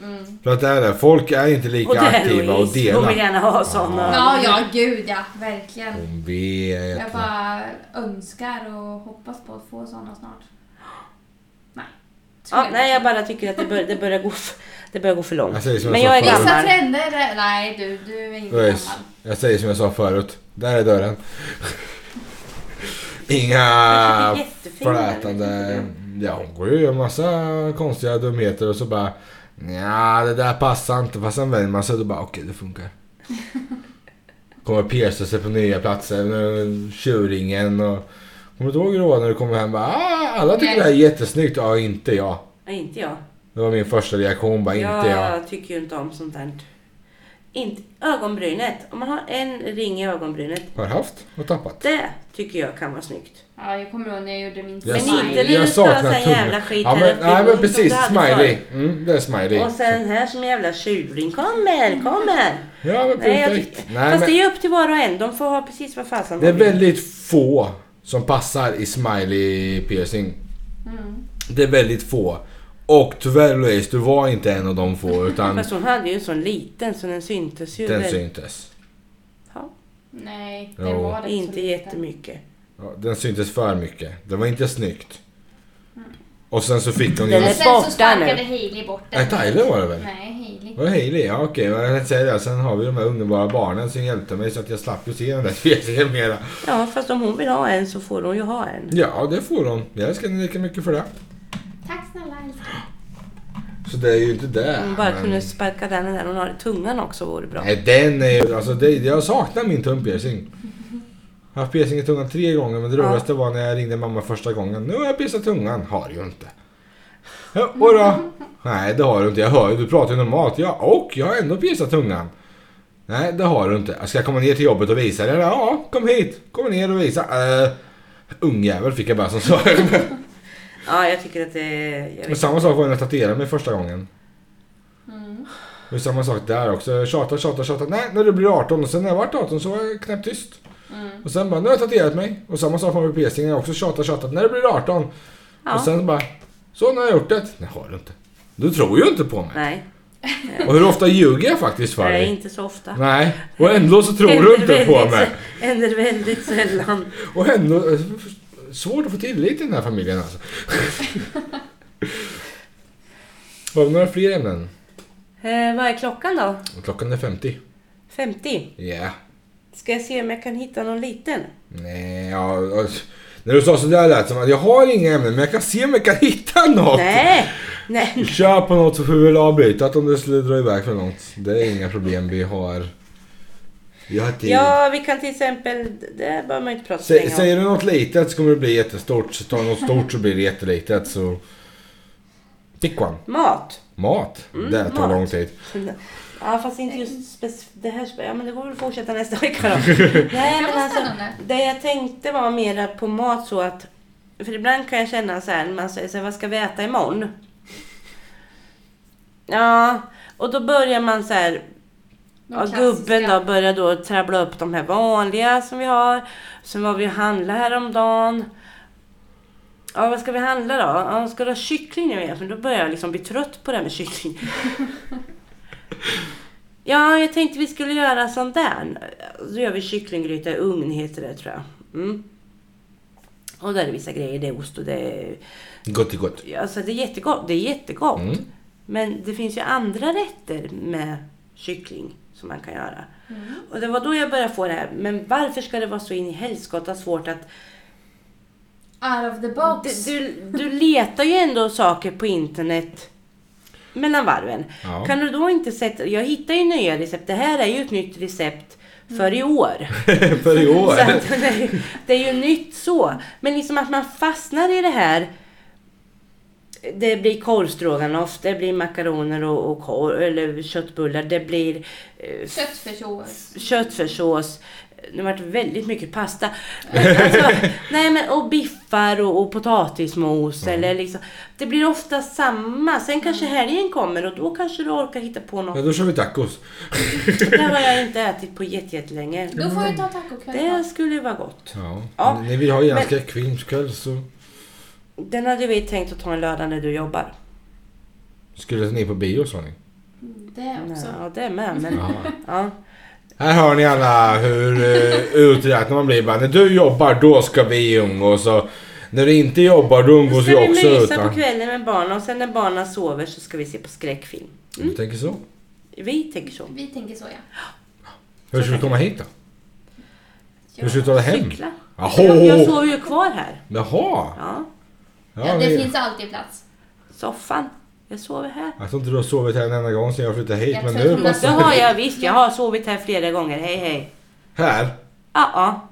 Speaker 2: Mm.
Speaker 1: För att det är det, folk är inte lika
Speaker 3: och det är
Speaker 1: aktiva och
Speaker 3: Louise. Hon
Speaker 1: delar.
Speaker 3: vill gärna ha såna.
Speaker 2: Ja, ja, gud ja. Verkligen.
Speaker 1: Hon vet.
Speaker 2: Jag bara önskar och hoppas på att få sådana snart. Nej. tror
Speaker 3: Ja,
Speaker 2: jag
Speaker 3: nej,
Speaker 2: inte.
Speaker 3: jag bara tycker att det, bör, det, börjar, gå för, det börjar gå för långt.
Speaker 1: Jag säger som
Speaker 3: men
Speaker 1: jag
Speaker 3: jag är
Speaker 1: sa förut.
Speaker 2: Vissa
Speaker 3: gammal.
Speaker 2: trender är... Nej, du, du är inte
Speaker 1: Oj,
Speaker 2: gammal.
Speaker 1: Jag säger som jag sa förut. Där är dörren. Inga
Speaker 3: Jag tycker det är jättefint.
Speaker 1: Eh, flätande... Ja, hon går ju och gör massa konstiga dumheter och så bara... ja det där passar inte. Fast sen vänjer man sig och då bara okej, det funkar. Kommer pierca sig på nya platser. nu- Tjuringen och... Kommer du inte ihåg hur det var när du kom hem? Bara, ah, alla tycker
Speaker 2: Nej.
Speaker 1: det här är jättesnyggt. Ja, inte jag.
Speaker 3: Nej, inte jag.
Speaker 1: Det var min första reaktion. Bara, inte jag.
Speaker 3: jag tycker ju inte om sånt där. Inte, ögonbrynet. Om man har en ring i ögonbrynet.
Speaker 1: Har haft och tappat.
Speaker 3: Det tycker jag kan vara snyggt.
Speaker 2: Ja, jag kommer ihåg när jag gjorde min
Speaker 3: Men
Speaker 2: smile.
Speaker 3: inte det. du sa sån jävla skit
Speaker 1: Ja,
Speaker 3: här
Speaker 1: men,
Speaker 3: uppe i
Speaker 1: nej men
Speaker 3: munnen
Speaker 1: precis,
Speaker 3: som du hade
Speaker 1: smiley. Mm, det är smiley.
Speaker 3: Och sen här som jävla tjuring. Kommer, kommer.
Speaker 1: ja men
Speaker 3: Nej, jag
Speaker 1: perfekt.
Speaker 3: tycker,
Speaker 1: Nej,
Speaker 3: fast
Speaker 1: men,
Speaker 3: det är upp till var och en. De får ha precis vad fasen
Speaker 1: det är
Speaker 3: de vill.
Speaker 1: väldigt få som passar i smiley piercing.
Speaker 2: Mm.
Speaker 1: Det är väldigt få. Och tyvärr Louise, du var inte en av de få utan
Speaker 3: Fast hon hade ju en sån liten så den syntes ju.
Speaker 1: den
Speaker 3: väl.
Speaker 1: syntes.
Speaker 3: Ja,
Speaker 2: Nej, det
Speaker 1: Jo.
Speaker 2: var det
Speaker 3: inte
Speaker 2: lite.
Speaker 3: jättemycket.
Speaker 1: Ja, den syntes för mycket. Det var inte snyggt. Och sen så fick hon ju...
Speaker 3: Den är-
Speaker 2: Men
Speaker 1: Nej,
Speaker 2: sen så
Speaker 3: borta
Speaker 2: sparkade
Speaker 3: nu.
Speaker 2: Hailey bort den.
Speaker 1: Tyler var det väl?
Speaker 2: Nej, Hailey.
Speaker 1: Var det Hailey? Ja okej, men jag tänkte säga det. Sen har vi de här underbara barnen som hjälpte mig så att jag slapp ju se den där piercingen mera.
Speaker 3: Ja, fast om hon vill ha en så får hon ju ha en.
Speaker 1: Ja, det får hon. Jag älskar henne lika mycket för det.
Speaker 2: Tack snälla älskling.
Speaker 1: Så det är ju inte det.
Speaker 3: Om hon Mm, bara
Speaker 1: men-
Speaker 3: kunde sparka den där hon har i tungan också vore bra.
Speaker 1: Nej, den är ju... Alltså, det, jag saknar min tumpiercing. Jag har haft piercing i tungan tre gånger, men det
Speaker 3: Ja.
Speaker 1: roligaste var när jag ringde mamma första gången. Nu har jag piercat tungan. Har ju inte. Ja, och då? Nej, det har du inte. Jag hör ju. Du pratar ju normalt. Ja, och jag har ändå piercat tungan. Nej, det har du inte. Ska jag komma ner till jobbet och visa dig? Ja, kom hit. Kom ner och visa. Eh, Ungjävel fick jag bara som svar.
Speaker 3: Ja, jag tycker att det är... Jag
Speaker 1: Men
Speaker 3: vet.
Speaker 1: samma sak var när jag tatuerade mig första gången.
Speaker 2: Mm.
Speaker 1: Det är samma sak där också. Jag tjatade, tjatade, tjatade. Nej, när du blir 18. Och sen när jag vart 18 så var jag knäpptyst.
Speaker 2: Mm.
Speaker 1: Och sen bara, nu har jag tatuerat mig. Och samma sak med piercingen. Jag också tjatat, tjatat. När det blir 18. Och
Speaker 3: Ja.
Speaker 1: sen bara, så nu har jag gjort det. Nej, har du inte. Du tror ju inte på mig.
Speaker 3: Nej,
Speaker 1: Och hur ofta ljuger jag faktiskt för
Speaker 3: nej,
Speaker 1: dig?
Speaker 3: inte så ofta.
Speaker 1: Nej. Och ändå så tror du
Speaker 3: Händer
Speaker 1: inte på
Speaker 3: väldigt
Speaker 1: mig.
Speaker 3: sä- Händer väldigt sällan.
Speaker 1: Och ändå... eh, Svårt att få tillit i den här familjen alltså. Har vi några fler ämnen?
Speaker 3: Eh, vad är klockan då?
Speaker 1: Klockan är 50.
Speaker 3: 50.
Speaker 1: Ja.
Speaker 3: Ska jag se om jag kan hitta någon liten?
Speaker 1: Nej, ja... alltså, När du sa sådär lät det som att jag har inga ämnen men jag kan se om jag kan hitta något.
Speaker 3: Nej! Nej.
Speaker 1: Kör på något så får vi väl avbryta att om det skulle dra iväg för långt. Det är inga problem, vi har... Vi har tid.
Speaker 3: Ja, vi kan till exempel... Det behöver man inte prata så
Speaker 1: Sä,
Speaker 3: länge om.
Speaker 1: säger du något litet så kommer det bli jättestort. Så tar du något stort så blir det jättelitet. Så... Pick one.
Speaker 3: Mat.
Speaker 1: Mat. det tar
Speaker 3: Mm, mat.
Speaker 1: lång tid.
Speaker 3: Ja, fast inte just spec- det här. spe- Ja, men det går väl att fortsätta nästa vecka då. Nej,
Speaker 2: Det
Speaker 3: men
Speaker 2: var
Speaker 3: alltså,
Speaker 2: spännande.
Speaker 3: det jag tänkte var mera på mat så att... För ibland kan jag känna så här, när man säger så här, vad ska vi äta imorgon? Ja, och då börjar man så här,
Speaker 2: De
Speaker 3: Ja,
Speaker 2: klassiska.
Speaker 3: gubben då börjar då trabbla upp de här vanliga som vi har. Sen var vi och handlade häromdagen. Ja, vad ska vi handla då? Ja, ska du ha kyckling nu igen? För då börjar jag liksom bli trött på det här med kyckling. ja, jag tänkte vi skulle göra sån där. Då gör vi kycklinggryta i ugn, heter det tror jag. Mm. Och där är det vissa grejer. Det är ost och det är...
Speaker 1: Gott i gott.
Speaker 3: Alltså det är jättegott. Det är jättegott.
Speaker 1: Mm.
Speaker 3: Men det finns ju andra rätter med kyckling som man kan göra.
Speaker 2: Mm.
Speaker 3: Och det var då jag började få det här, men varför ska det vara så in i helskotta svårt att...
Speaker 2: Out of the box.
Speaker 3: Du, du, du letar ju ändå saker på internet mellan varven.
Speaker 1: Ja.
Speaker 3: Kan du då inte sätta... Jag hittar ju nya recept. Det här är ju ett nytt recept för i år.
Speaker 1: för i år.
Speaker 3: Så att, det, är ju, det är ju nytt så. Men liksom att man fastnar i det här. Det blir korvstroganoff, det blir makaroner och, och korv, eller köttbullar, det blir eh,
Speaker 2: Köttfärssås.
Speaker 3: köttfärssås. Nu vart det väldigt mycket pasta. Men Alltså, nej men, och biffar och, och potatismos. Eller liksom, det blir ofta samma. Sen kanske helgen kommer och då kanske du orkar hitta på
Speaker 1: Ja,
Speaker 3: något.
Speaker 1: då kör vi tacos.
Speaker 3: Det här har jag inte ätit på jätte- jättelänge.
Speaker 2: Då får vi ta tacokväll.
Speaker 3: Det skulle ju vara gott.
Speaker 1: Ja.
Speaker 3: Ja,
Speaker 1: Om Ni vill ha gärna
Speaker 3: men-
Speaker 1: skräckfilmskväll så
Speaker 3: Den hade vi tänkt att ta en lördag när du jobbar.
Speaker 1: skulle ni på bio sa ni.
Speaker 2: Det också.
Speaker 3: Ja, det är med. Men,
Speaker 1: Ja.
Speaker 3: ja.
Speaker 1: Här hör ni alla hur uh, uträknad man blir. Bara, när du jobbar då ska vi umgås. Och när du inte jobbar då
Speaker 3: Då
Speaker 1: umgås vi
Speaker 3: ska vi
Speaker 1: också
Speaker 3: mysa
Speaker 1: utan.
Speaker 3: på kvällen med barnen och sen när barnen sover så ska vi se på skräckfilm.
Speaker 1: Jag Mm. tänker så.
Speaker 3: Vi tänker så.
Speaker 2: Vi tänker så ja.
Speaker 1: Hur ska vi komma hit då? Hur ska vi ta det hem?
Speaker 3: Cykla. Jag, jag
Speaker 1: Jaha!
Speaker 3: sover ju kvar här.
Speaker 1: Jaha!
Speaker 3: Ja,
Speaker 2: Ja, det
Speaker 1: vi-
Speaker 2: finns alltid plats.
Speaker 3: soffan. Jag sover här.
Speaker 1: Jag tror inte du har sovit här en enda gång sedan jag flyttade hit.
Speaker 2: Jag
Speaker 1: men
Speaker 2: tror
Speaker 1: nu
Speaker 2: att man-
Speaker 1: passar
Speaker 3: Fast det har jag visst. Jag har sovit här flera gånger. Hej, hej.
Speaker 1: Här?
Speaker 3: Ja, ja.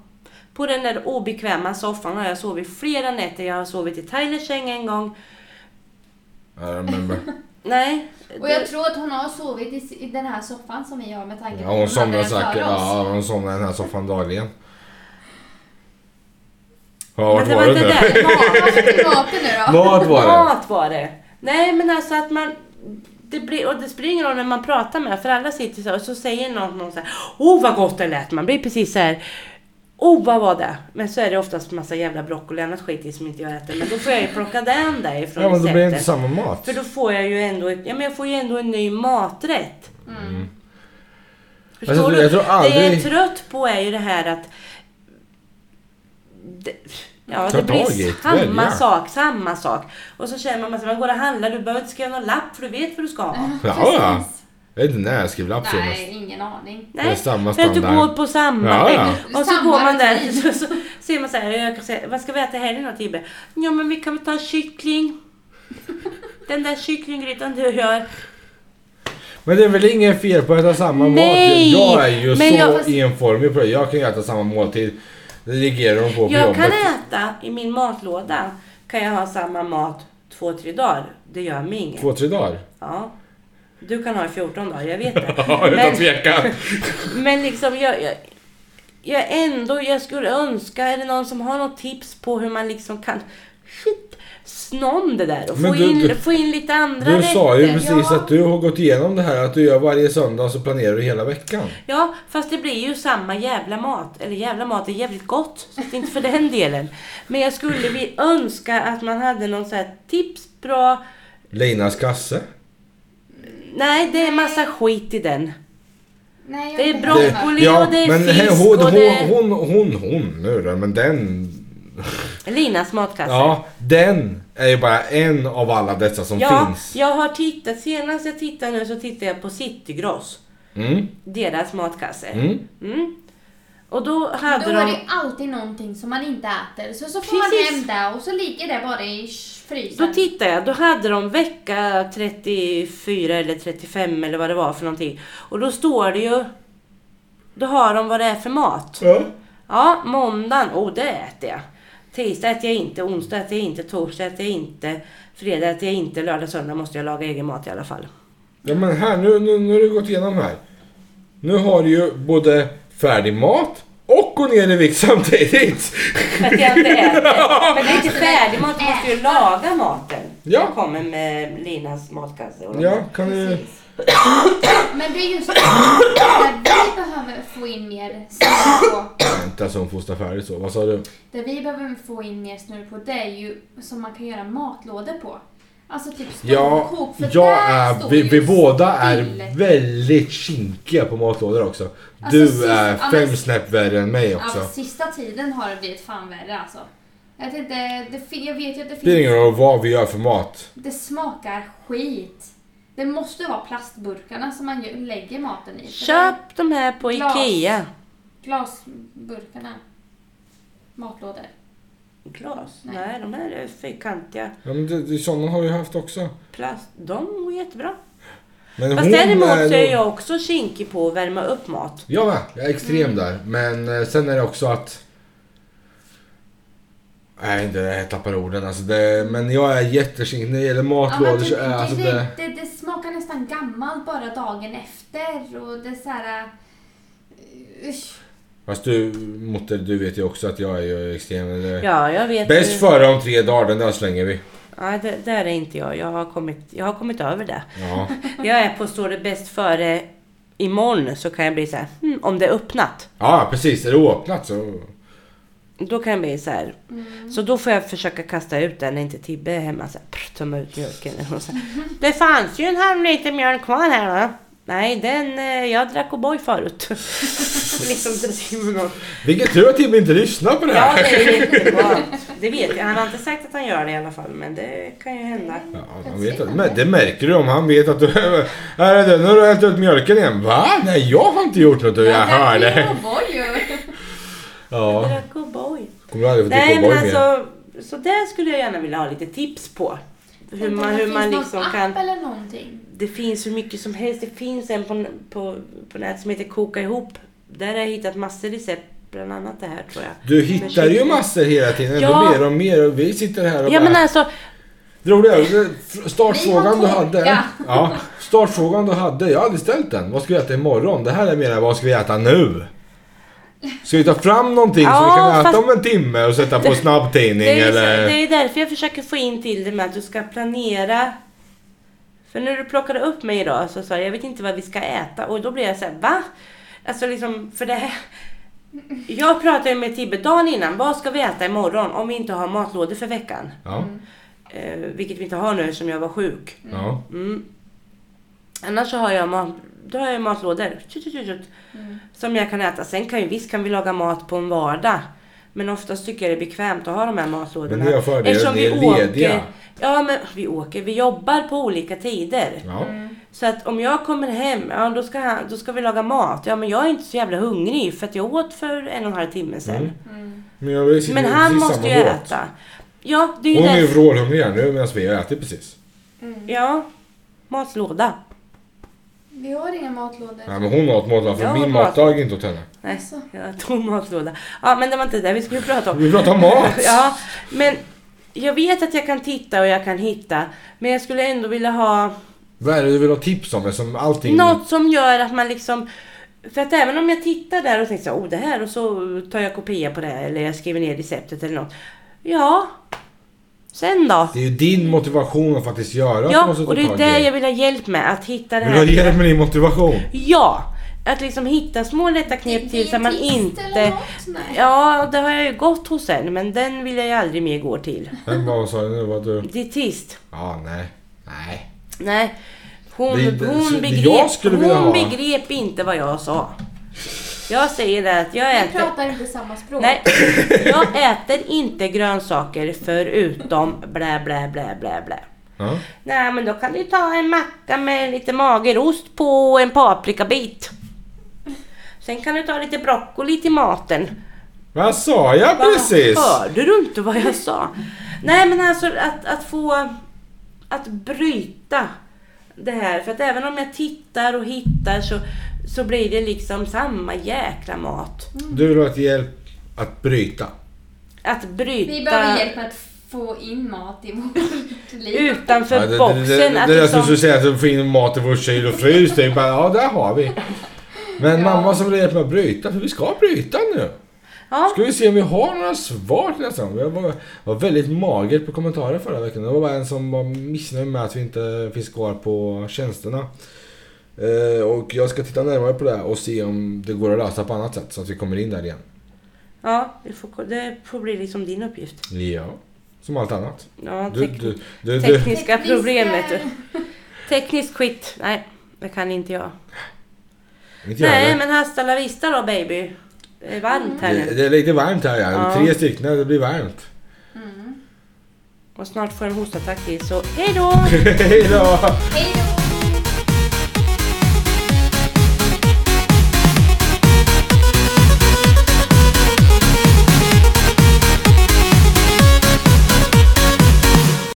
Speaker 3: På den där obekväma soffan har jag sovit flera nätter. Jag har sovit i Tylers säng en gång.
Speaker 1: I remember.
Speaker 3: Nej.
Speaker 2: Och
Speaker 3: det-
Speaker 2: jag tror att hon har sovit i, s- i den här soffan som vi har med tanke
Speaker 1: Ja,
Speaker 2: att
Speaker 1: hon
Speaker 2: hade
Speaker 1: somnar
Speaker 2: den före
Speaker 1: säkert.
Speaker 2: oss.
Speaker 1: Ja, hon somnar i den här soffan dagligen. Ja,
Speaker 3: Men
Speaker 1: vart
Speaker 3: det
Speaker 1: var
Speaker 3: var
Speaker 1: det
Speaker 3: inte
Speaker 1: nu?
Speaker 3: där.
Speaker 2: Ja, vad fick du maten nu då?
Speaker 1: Vad var det?
Speaker 3: Mat var det. Nej men alltså att man... Det blir, och det spelar ingen roll när man pratar med för alla sitter så här och så säger någon, någon så här Åh oh, vad gott det lät! Man blir precis så här Åh oh, vad var det? Men så är det oftast massa jävla broccoli och annat skit i som inte jag äter. Men då får jag ju plocka den där ifrån
Speaker 1: Ja, men då blir det inte
Speaker 3: receptet.
Speaker 1: samma mat.
Speaker 3: För då får jag ju ändå, ja, men jag får ju ändå en ny maträtt.
Speaker 2: Mm.
Speaker 3: Förstår
Speaker 1: Mm. Alltså,
Speaker 3: du?
Speaker 1: jag tror
Speaker 3: Det jag
Speaker 1: aldrig-
Speaker 3: är trött på är ju det här att det, Ja,
Speaker 1: Ta
Speaker 3: det blir
Speaker 1: tag i det,
Speaker 3: samma
Speaker 1: välja.
Speaker 3: sak, samma sak. Och så känner man att man går och handlar, du behöver inte skriva någon lapp för du vet vad du ska ha.
Speaker 1: Ja,
Speaker 2: Precis.
Speaker 1: ja. Jag vet inte när jag skrev lapp senast.
Speaker 2: Nej, ingen aning.
Speaker 3: Nej,
Speaker 1: Det är samma
Speaker 3: för att du
Speaker 1: standard.
Speaker 3: går på samma
Speaker 1: Ja, ja.
Speaker 3: thing. Och så
Speaker 2: Samma
Speaker 3: går man där
Speaker 2: rutin.
Speaker 3: så, så ser man så här, jag kan säga, vad ska vi äta i helgen då Tibbe? Ja men vi kan väl ta kyckling. Den där kycklinggrytan du gör.
Speaker 1: Men det är väl inget fel på att äta samma
Speaker 3: Nej,
Speaker 1: måltid? Jag är ju
Speaker 3: men
Speaker 1: så
Speaker 3: jag- fast-
Speaker 1: enformig på det. Jag kan ju äta samma måltid. Det reagerar de på på
Speaker 3: Jag
Speaker 1: jobbet.
Speaker 3: kan äta i min matlåda. Kan jag ha samma mat två, tre dagar? Det gör mig inget.
Speaker 1: Två, tre dagar.
Speaker 3: Ja. Du kan ha i 14 dagar, jag vet det.
Speaker 1: Ja, utan
Speaker 3: men,
Speaker 1: tvekan.
Speaker 3: men liksom, jag, jag, jag ändå, jag skulle önska, är det någon som har något tips på hur man liksom kan shit, snom det där och
Speaker 1: Men
Speaker 3: få,
Speaker 1: du-
Speaker 3: in,
Speaker 1: du-
Speaker 3: få in lite andra
Speaker 1: Du sa ju
Speaker 3: rätter.
Speaker 1: precis
Speaker 2: ja.
Speaker 1: att du har gått igenom det här. Att du gör varje söndag så planerar du hela veckan.
Speaker 3: Ja, fast det blir ju samma jävla mat. Eller jävla mat är jävligt gott, så att inte för den delen. Men jag skulle vi önska att man hade någon så här tips, bra...
Speaker 1: Linas kasse.
Speaker 3: Nej, det är massa skit i den.
Speaker 2: Nej, jag
Speaker 3: Det är
Speaker 2: vet
Speaker 1: Det-
Speaker 2: inte.
Speaker 3: broccoli och det är
Speaker 1: men
Speaker 3: fisk
Speaker 1: hon,
Speaker 3: och det är-
Speaker 1: hon, hon, hon, hon nu då, men den...
Speaker 3: Linas matkasse.
Speaker 1: Ja, den är ju bara en av alla dessa som
Speaker 3: Ja,
Speaker 1: finns.
Speaker 3: jag har tittat. Senast jag tittade nu så tittade jag på Citygross.
Speaker 1: Mm,
Speaker 3: Deras matkasse.
Speaker 1: mm.
Speaker 3: Mm. Och då
Speaker 2: Då
Speaker 3: hade
Speaker 2: är
Speaker 3: de...
Speaker 2: det alltid någonting som man inte äter. Så, så får
Speaker 3: Precis.
Speaker 2: man hem det och så ligger det bara i frysen.
Speaker 3: Då tittade jag, då hade de vecka 34 eller 35 eller vad det var för någonting. Och då står det ju, då har de vad det är för mat.
Speaker 1: Ja.
Speaker 3: Ja, måndagen, oh det äter jag. Tisdag äter jag inte, onsdag äter jag inte, torsdag äter jag inte, fredag äter jag inte, lördag, söndag måste jag laga egen mat i alla fall.
Speaker 1: ja, men här nu, nu, nu har du gått igenom här. Nu har du ju både färdig mat och gå ner i vikt samtidigt.
Speaker 3: För att jag inte äter. Men det är inte färdig mat, jag måste ju laga maten.
Speaker 1: Ja.
Speaker 3: Jag kommer med Linas matkasse. Och de
Speaker 1: Ja,
Speaker 3: här.
Speaker 1: kan du...
Speaker 2: Precis. Men det är just det där vi behöver få in mer snurr på.
Speaker 1: Vänta så hon fostrar färdigt så. Vad sa du?
Speaker 2: Det vi behöver få in mer snurr på det är ju som man kan göra matlådor på. Alltså typ
Speaker 1: Ja,
Speaker 2: storkok. för
Speaker 1: jag
Speaker 2: där
Speaker 1: är,
Speaker 2: står
Speaker 1: vi,
Speaker 2: ju
Speaker 1: vi båda
Speaker 2: still.
Speaker 1: är väldigt kinkiga på matlådor också.
Speaker 2: Alltså,
Speaker 1: Du
Speaker 2: sist- Alltså,
Speaker 1: är
Speaker 2: ja,
Speaker 1: fem
Speaker 2: men-
Speaker 1: snäpp värre än mig
Speaker 2: Ja,
Speaker 1: också.
Speaker 2: sista tiden har det blivit fan värre alltså. Jag vet, inte, det, fin- jag vet ju att det
Speaker 1: Det spelar ingen
Speaker 2: finns...
Speaker 1: roll vad vi gör för mat.
Speaker 2: Det smakar skit. Det måste vara plastburkarna som man ju lägger maten i. För
Speaker 3: Köp de här på
Speaker 2: Glas.
Speaker 3: Ikea.
Speaker 2: det är Glasburkarna. Matlådor.
Speaker 3: Glas?
Speaker 2: Nej.
Speaker 3: Nej, de här är fyrkantiga.
Speaker 1: Ja, men det, det, sådana har jag haft också.
Speaker 3: Plast, de går jättebra.
Speaker 1: Men
Speaker 3: Fast däremot
Speaker 1: är
Speaker 3: så
Speaker 1: nog-
Speaker 3: är jag också kinkig på att värma upp mat.
Speaker 1: Jag med, jag är extrem där. Men eh, sen är det också att... Nej, inte, jag tappar orden. Alltså det, men jag är jättekinkig när det gäller
Speaker 2: Ja, men
Speaker 1: matlådor.
Speaker 2: typ,
Speaker 1: så är, alltså det,
Speaker 2: det, det, det smakar nästan gammalt bara dagen efter och det är så här... eh, usch.
Speaker 1: fast du, Motter, du vet ju också att jag är ju extrem. eller-
Speaker 3: Ja, jag vet.
Speaker 1: Bäst
Speaker 3: för...
Speaker 1: före om tre dagar, den där slänger vi.
Speaker 3: Ja, det, där är inte jag. Jag har, kommit, jag har kommit över det.
Speaker 1: Ja.
Speaker 3: Jag är på står det bäst före imorgon så kan jag bli så här, hmm, om det är öppnat.
Speaker 1: Ja, precis. Är det öppnat så...
Speaker 3: Då kan jag bli så här. Så då får jag försöka kasta ut den när inte Tibbe är hemma. Så här, prr, tömma ut mjölken. Och så här, det fanns ju en halv liter mjölk kvar här då. Nej, den, eh, jag drack O'boy förut. liksom drog in något.
Speaker 1: Vilken tur att Tibbe inte lyssnar på det
Speaker 3: Ja,
Speaker 1: här.
Speaker 3: det är jättebra. Det vet jag. Han har inte sagt att han gör det i alla fall, men det kan ju hända.
Speaker 1: Ja, han vet att, men det märker du om han vet att du... Här är det, nu har du hällt ut mjölken igen. Va? Nej, jag har inte gjort något. Du, jag hörde.
Speaker 3: Jag
Speaker 1: Ja.
Speaker 3: drack O'boy.
Speaker 1: Kommer du aldrig få dricka
Speaker 3: Nej, men
Speaker 1: O'boy mer?
Speaker 3: alltså. Så där skulle jag gärna vilja ha lite tips på. Hur man, hur man liksom kan...
Speaker 2: app eller någonting.
Speaker 3: Det finns hur mycket som helst. Det finns en på, på, på nätet som heter Koka ihop. Där har jag hittat massor recept. Bland annat det här tror jag.
Speaker 1: Du hittar ju massor hela tiden. Ändå
Speaker 3: Ja.
Speaker 1: mer och mer. Och vi sitter här och
Speaker 3: Ja men
Speaker 1: bara...
Speaker 3: alltså,
Speaker 1: Det roliga är, det- f- startfrågan
Speaker 2: Vi
Speaker 1: du
Speaker 2: har
Speaker 1: hade.
Speaker 2: tolka.
Speaker 1: Ja, startfrågan du hade. Jag hade ställt den. Vad ska vi äta imorgon? Det här är mer vad ska vi äta nu? Ska vi ta fram någonting som vi
Speaker 3: Ja,
Speaker 1: kan äta
Speaker 3: fast-
Speaker 1: om en timme och sätta på snabbtidning
Speaker 3: det är, ju så-
Speaker 1: eller...
Speaker 3: det är därför jag försöker få in till det med att du ska planera. För när du plockade upp mig idag så sa jag, jag vet inte vad vi ska äta och då blev jag så här, va? Alltså liksom, för det här. Jag pratade ju med Tibbe dagen innan, vad ska vi äta imorgon om vi inte har matlådor för veckan?
Speaker 1: Ja.
Speaker 3: Eh, vilket vi inte har nu som jag var sjuk.
Speaker 1: ja.
Speaker 3: Mm. Annars så har jag, mat, då har jag matlådor tjut, tjut, tjut, tjut, som jag kan äta. Sen kan ju visst kan vi laga mat på en vardag. Men oftast tycker jag det är bekvämt att ha de här matlådorna.
Speaker 1: Men ni har fördelen, ni är lediga.
Speaker 3: Åker, ja, men vi åker. Vi jobbar på olika tider.
Speaker 1: ja.
Speaker 3: Så att om jag kommer hem, ja då ska, han- då ska vi laga mat. Ja, men jag är inte så jävla hungrig för att jag åt för en och en halv timme sedan.
Speaker 1: Mm. Men, jag vill sitta
Speaker 3: Men
Speaker 1: i
Speaker 3: han
Speaker 1: precis
Speaker 3: måste
Speaker 1: samma
Speaker 3: ju
Speaker 1: båt.
Speaker 3: äta. Ja, det är ju
Speaker 1: Hon är ju
Speaker 3: därför.
Speaker 1: vrålhungrig här nu medan vi har ätit precis.
Speaker 3: Ja, matlåda.
Speaker 2: Vi har inga matlådor.
Speaker 1: Nej men hon åt matlåda för
Speaker 3: Jag
Speaker 1: min
Speaker 3: åt
Speaker 1: matlåda gick inte åt henne.
Speaker 3: Nej,
Speaker 2: Alltså.
Speaker 3: jag tog matlåda. Ja, men det var inte det vi skulle prata om.
Speaker 1: Vi pratar om mat!
Speaker 3: Ja, men jag vet att jag kan titta och jag kan hitta. Men jag skulle ändå vilja ha
Speaker 1: Vad är det du vill ha tips om? Som allting...
Speaker 3: något som gör att man liksom För att även om jag tittar där och tänker så här, oh det här och så tar jag kopia på det här eller jag skriver ner receptet eller något. Ja. Sen då?
Speaker 1: Det är ju din motivation att faktiskt göra att du
Speaker 3: Ja,
Speaker 1: måste ta
Speaker 3: och det är
Speaker 1: tag i
Speaker 3: det jag vill ha hjälp med. Att hitta det
Speaker 1: Vill du ha
Speaker 3: här.
Speaker 1: hjälp med din motivation?
Speaker 3: Ja! Att liksom hitta små lätta knep till så att man
Speaker 2: Dietist Eller
Speaker 3: inte...
Speaker 2: något? Nej.
Speaker 3: Ja, det har jag ju gått hos en, men den vill jag ju aldrig mer gå till.
Speaker 1: Vem var sa du nu? Var du...
Speaker 3: Dietist.
Speaker 1: Ja, nej. Nej.
Speaker 3: Nej. Hon,
Speaker 1: Det är inte-
Speaker 3: hon,
Speaker 1: det
Speaker 3: begrep,
Speaker 1: jag skulle vilja
Speaker 3: hon
Speaker 1: ha.
Speaker 3: begrep inte vad jag sa. Jag säger det att jag
Speaker 2: Vi
Speaker 3: äter...
Speaker 2: pratar inte samma språk.
Speaker 3: Nej, jag äter inte grönsaker förutom blä, blä, blä, blä, blä.
Speaker 1: Ja.
Speaker 3: Nej, men då kan du ta en macka med lite magerost på och en paprikabit. Sen kan du ta lite broccoli till maten.
Speaker 1: Vad sa jag precis?
Speaker 3: Hörde du inte vad jag sa? Nej, men alltså att, att få... Att bryta det här. För att även om jag tittar och hittar så, så blir det liksom samma jäkla mat.
Speaker 1: Du vill ha ett hjälp att bryta.
Speaker 3: Att bryta...
Speaker 2: Vi behöver hjälp med att få in mat i vårt liv.
Speaker 3: Utanför
Speaker 1: det, det,
Speaker 3: boxen.
Speaker 1: det, det,
Speaker 3: att
Speaker 1: det alltså, där
Speaker 3: liksom-
Speaker 1: som du säger att du får in mat i vår kyl och frys. Det är bara, ja där har vi. Men
Speaker 2: Ja.
Speaker 1: mamma som vill hjälpa mig att bryta, för vi ska bryta nu.
Speaker 3: ja.
Speaker 1: Ska vi se om vi har några svar till nästa gång. Det var, var väldigt magert på kommentarer förra veckan. Det var bara en som var missnöjd med att vi inte finns kvar på tjänsterna. Eh, och jag ska titta närmare på det här och se om det går att lösa på annat sätt så att vi kommer in där igen.
Speaker 3: ja, vi får, det får bli liksom din uppgift.
Speaker 1: Ja. Som allt annat.
Speaker 3: Ja,
Speaker 1: Du,
Speaker 3: tek-
Speaker 1: du, du, du.
Speaker 3: tekniska
Speaker 2: Tekniska-
Speaker 3: problem vet du. Tekniskt skit. Nej, det kan inte jag.
Speaker 1: Inte jag
Speaker 3: Nej,
Speaker 1: heller.
Speaker 3: men hasta la vista då baby. Det är varmt här
Speaker 1: det,
Speaker 3: nu.
Speaker 1: det är lite varmt här ja.
Speaker 3: Ja.
Speaker 1: Tre stycken, det blir varmt.
Speaker 3: Och snart får jag en hostattack till så hej då!
Speaker 1: Hej då!
Speaker 2: Hej då!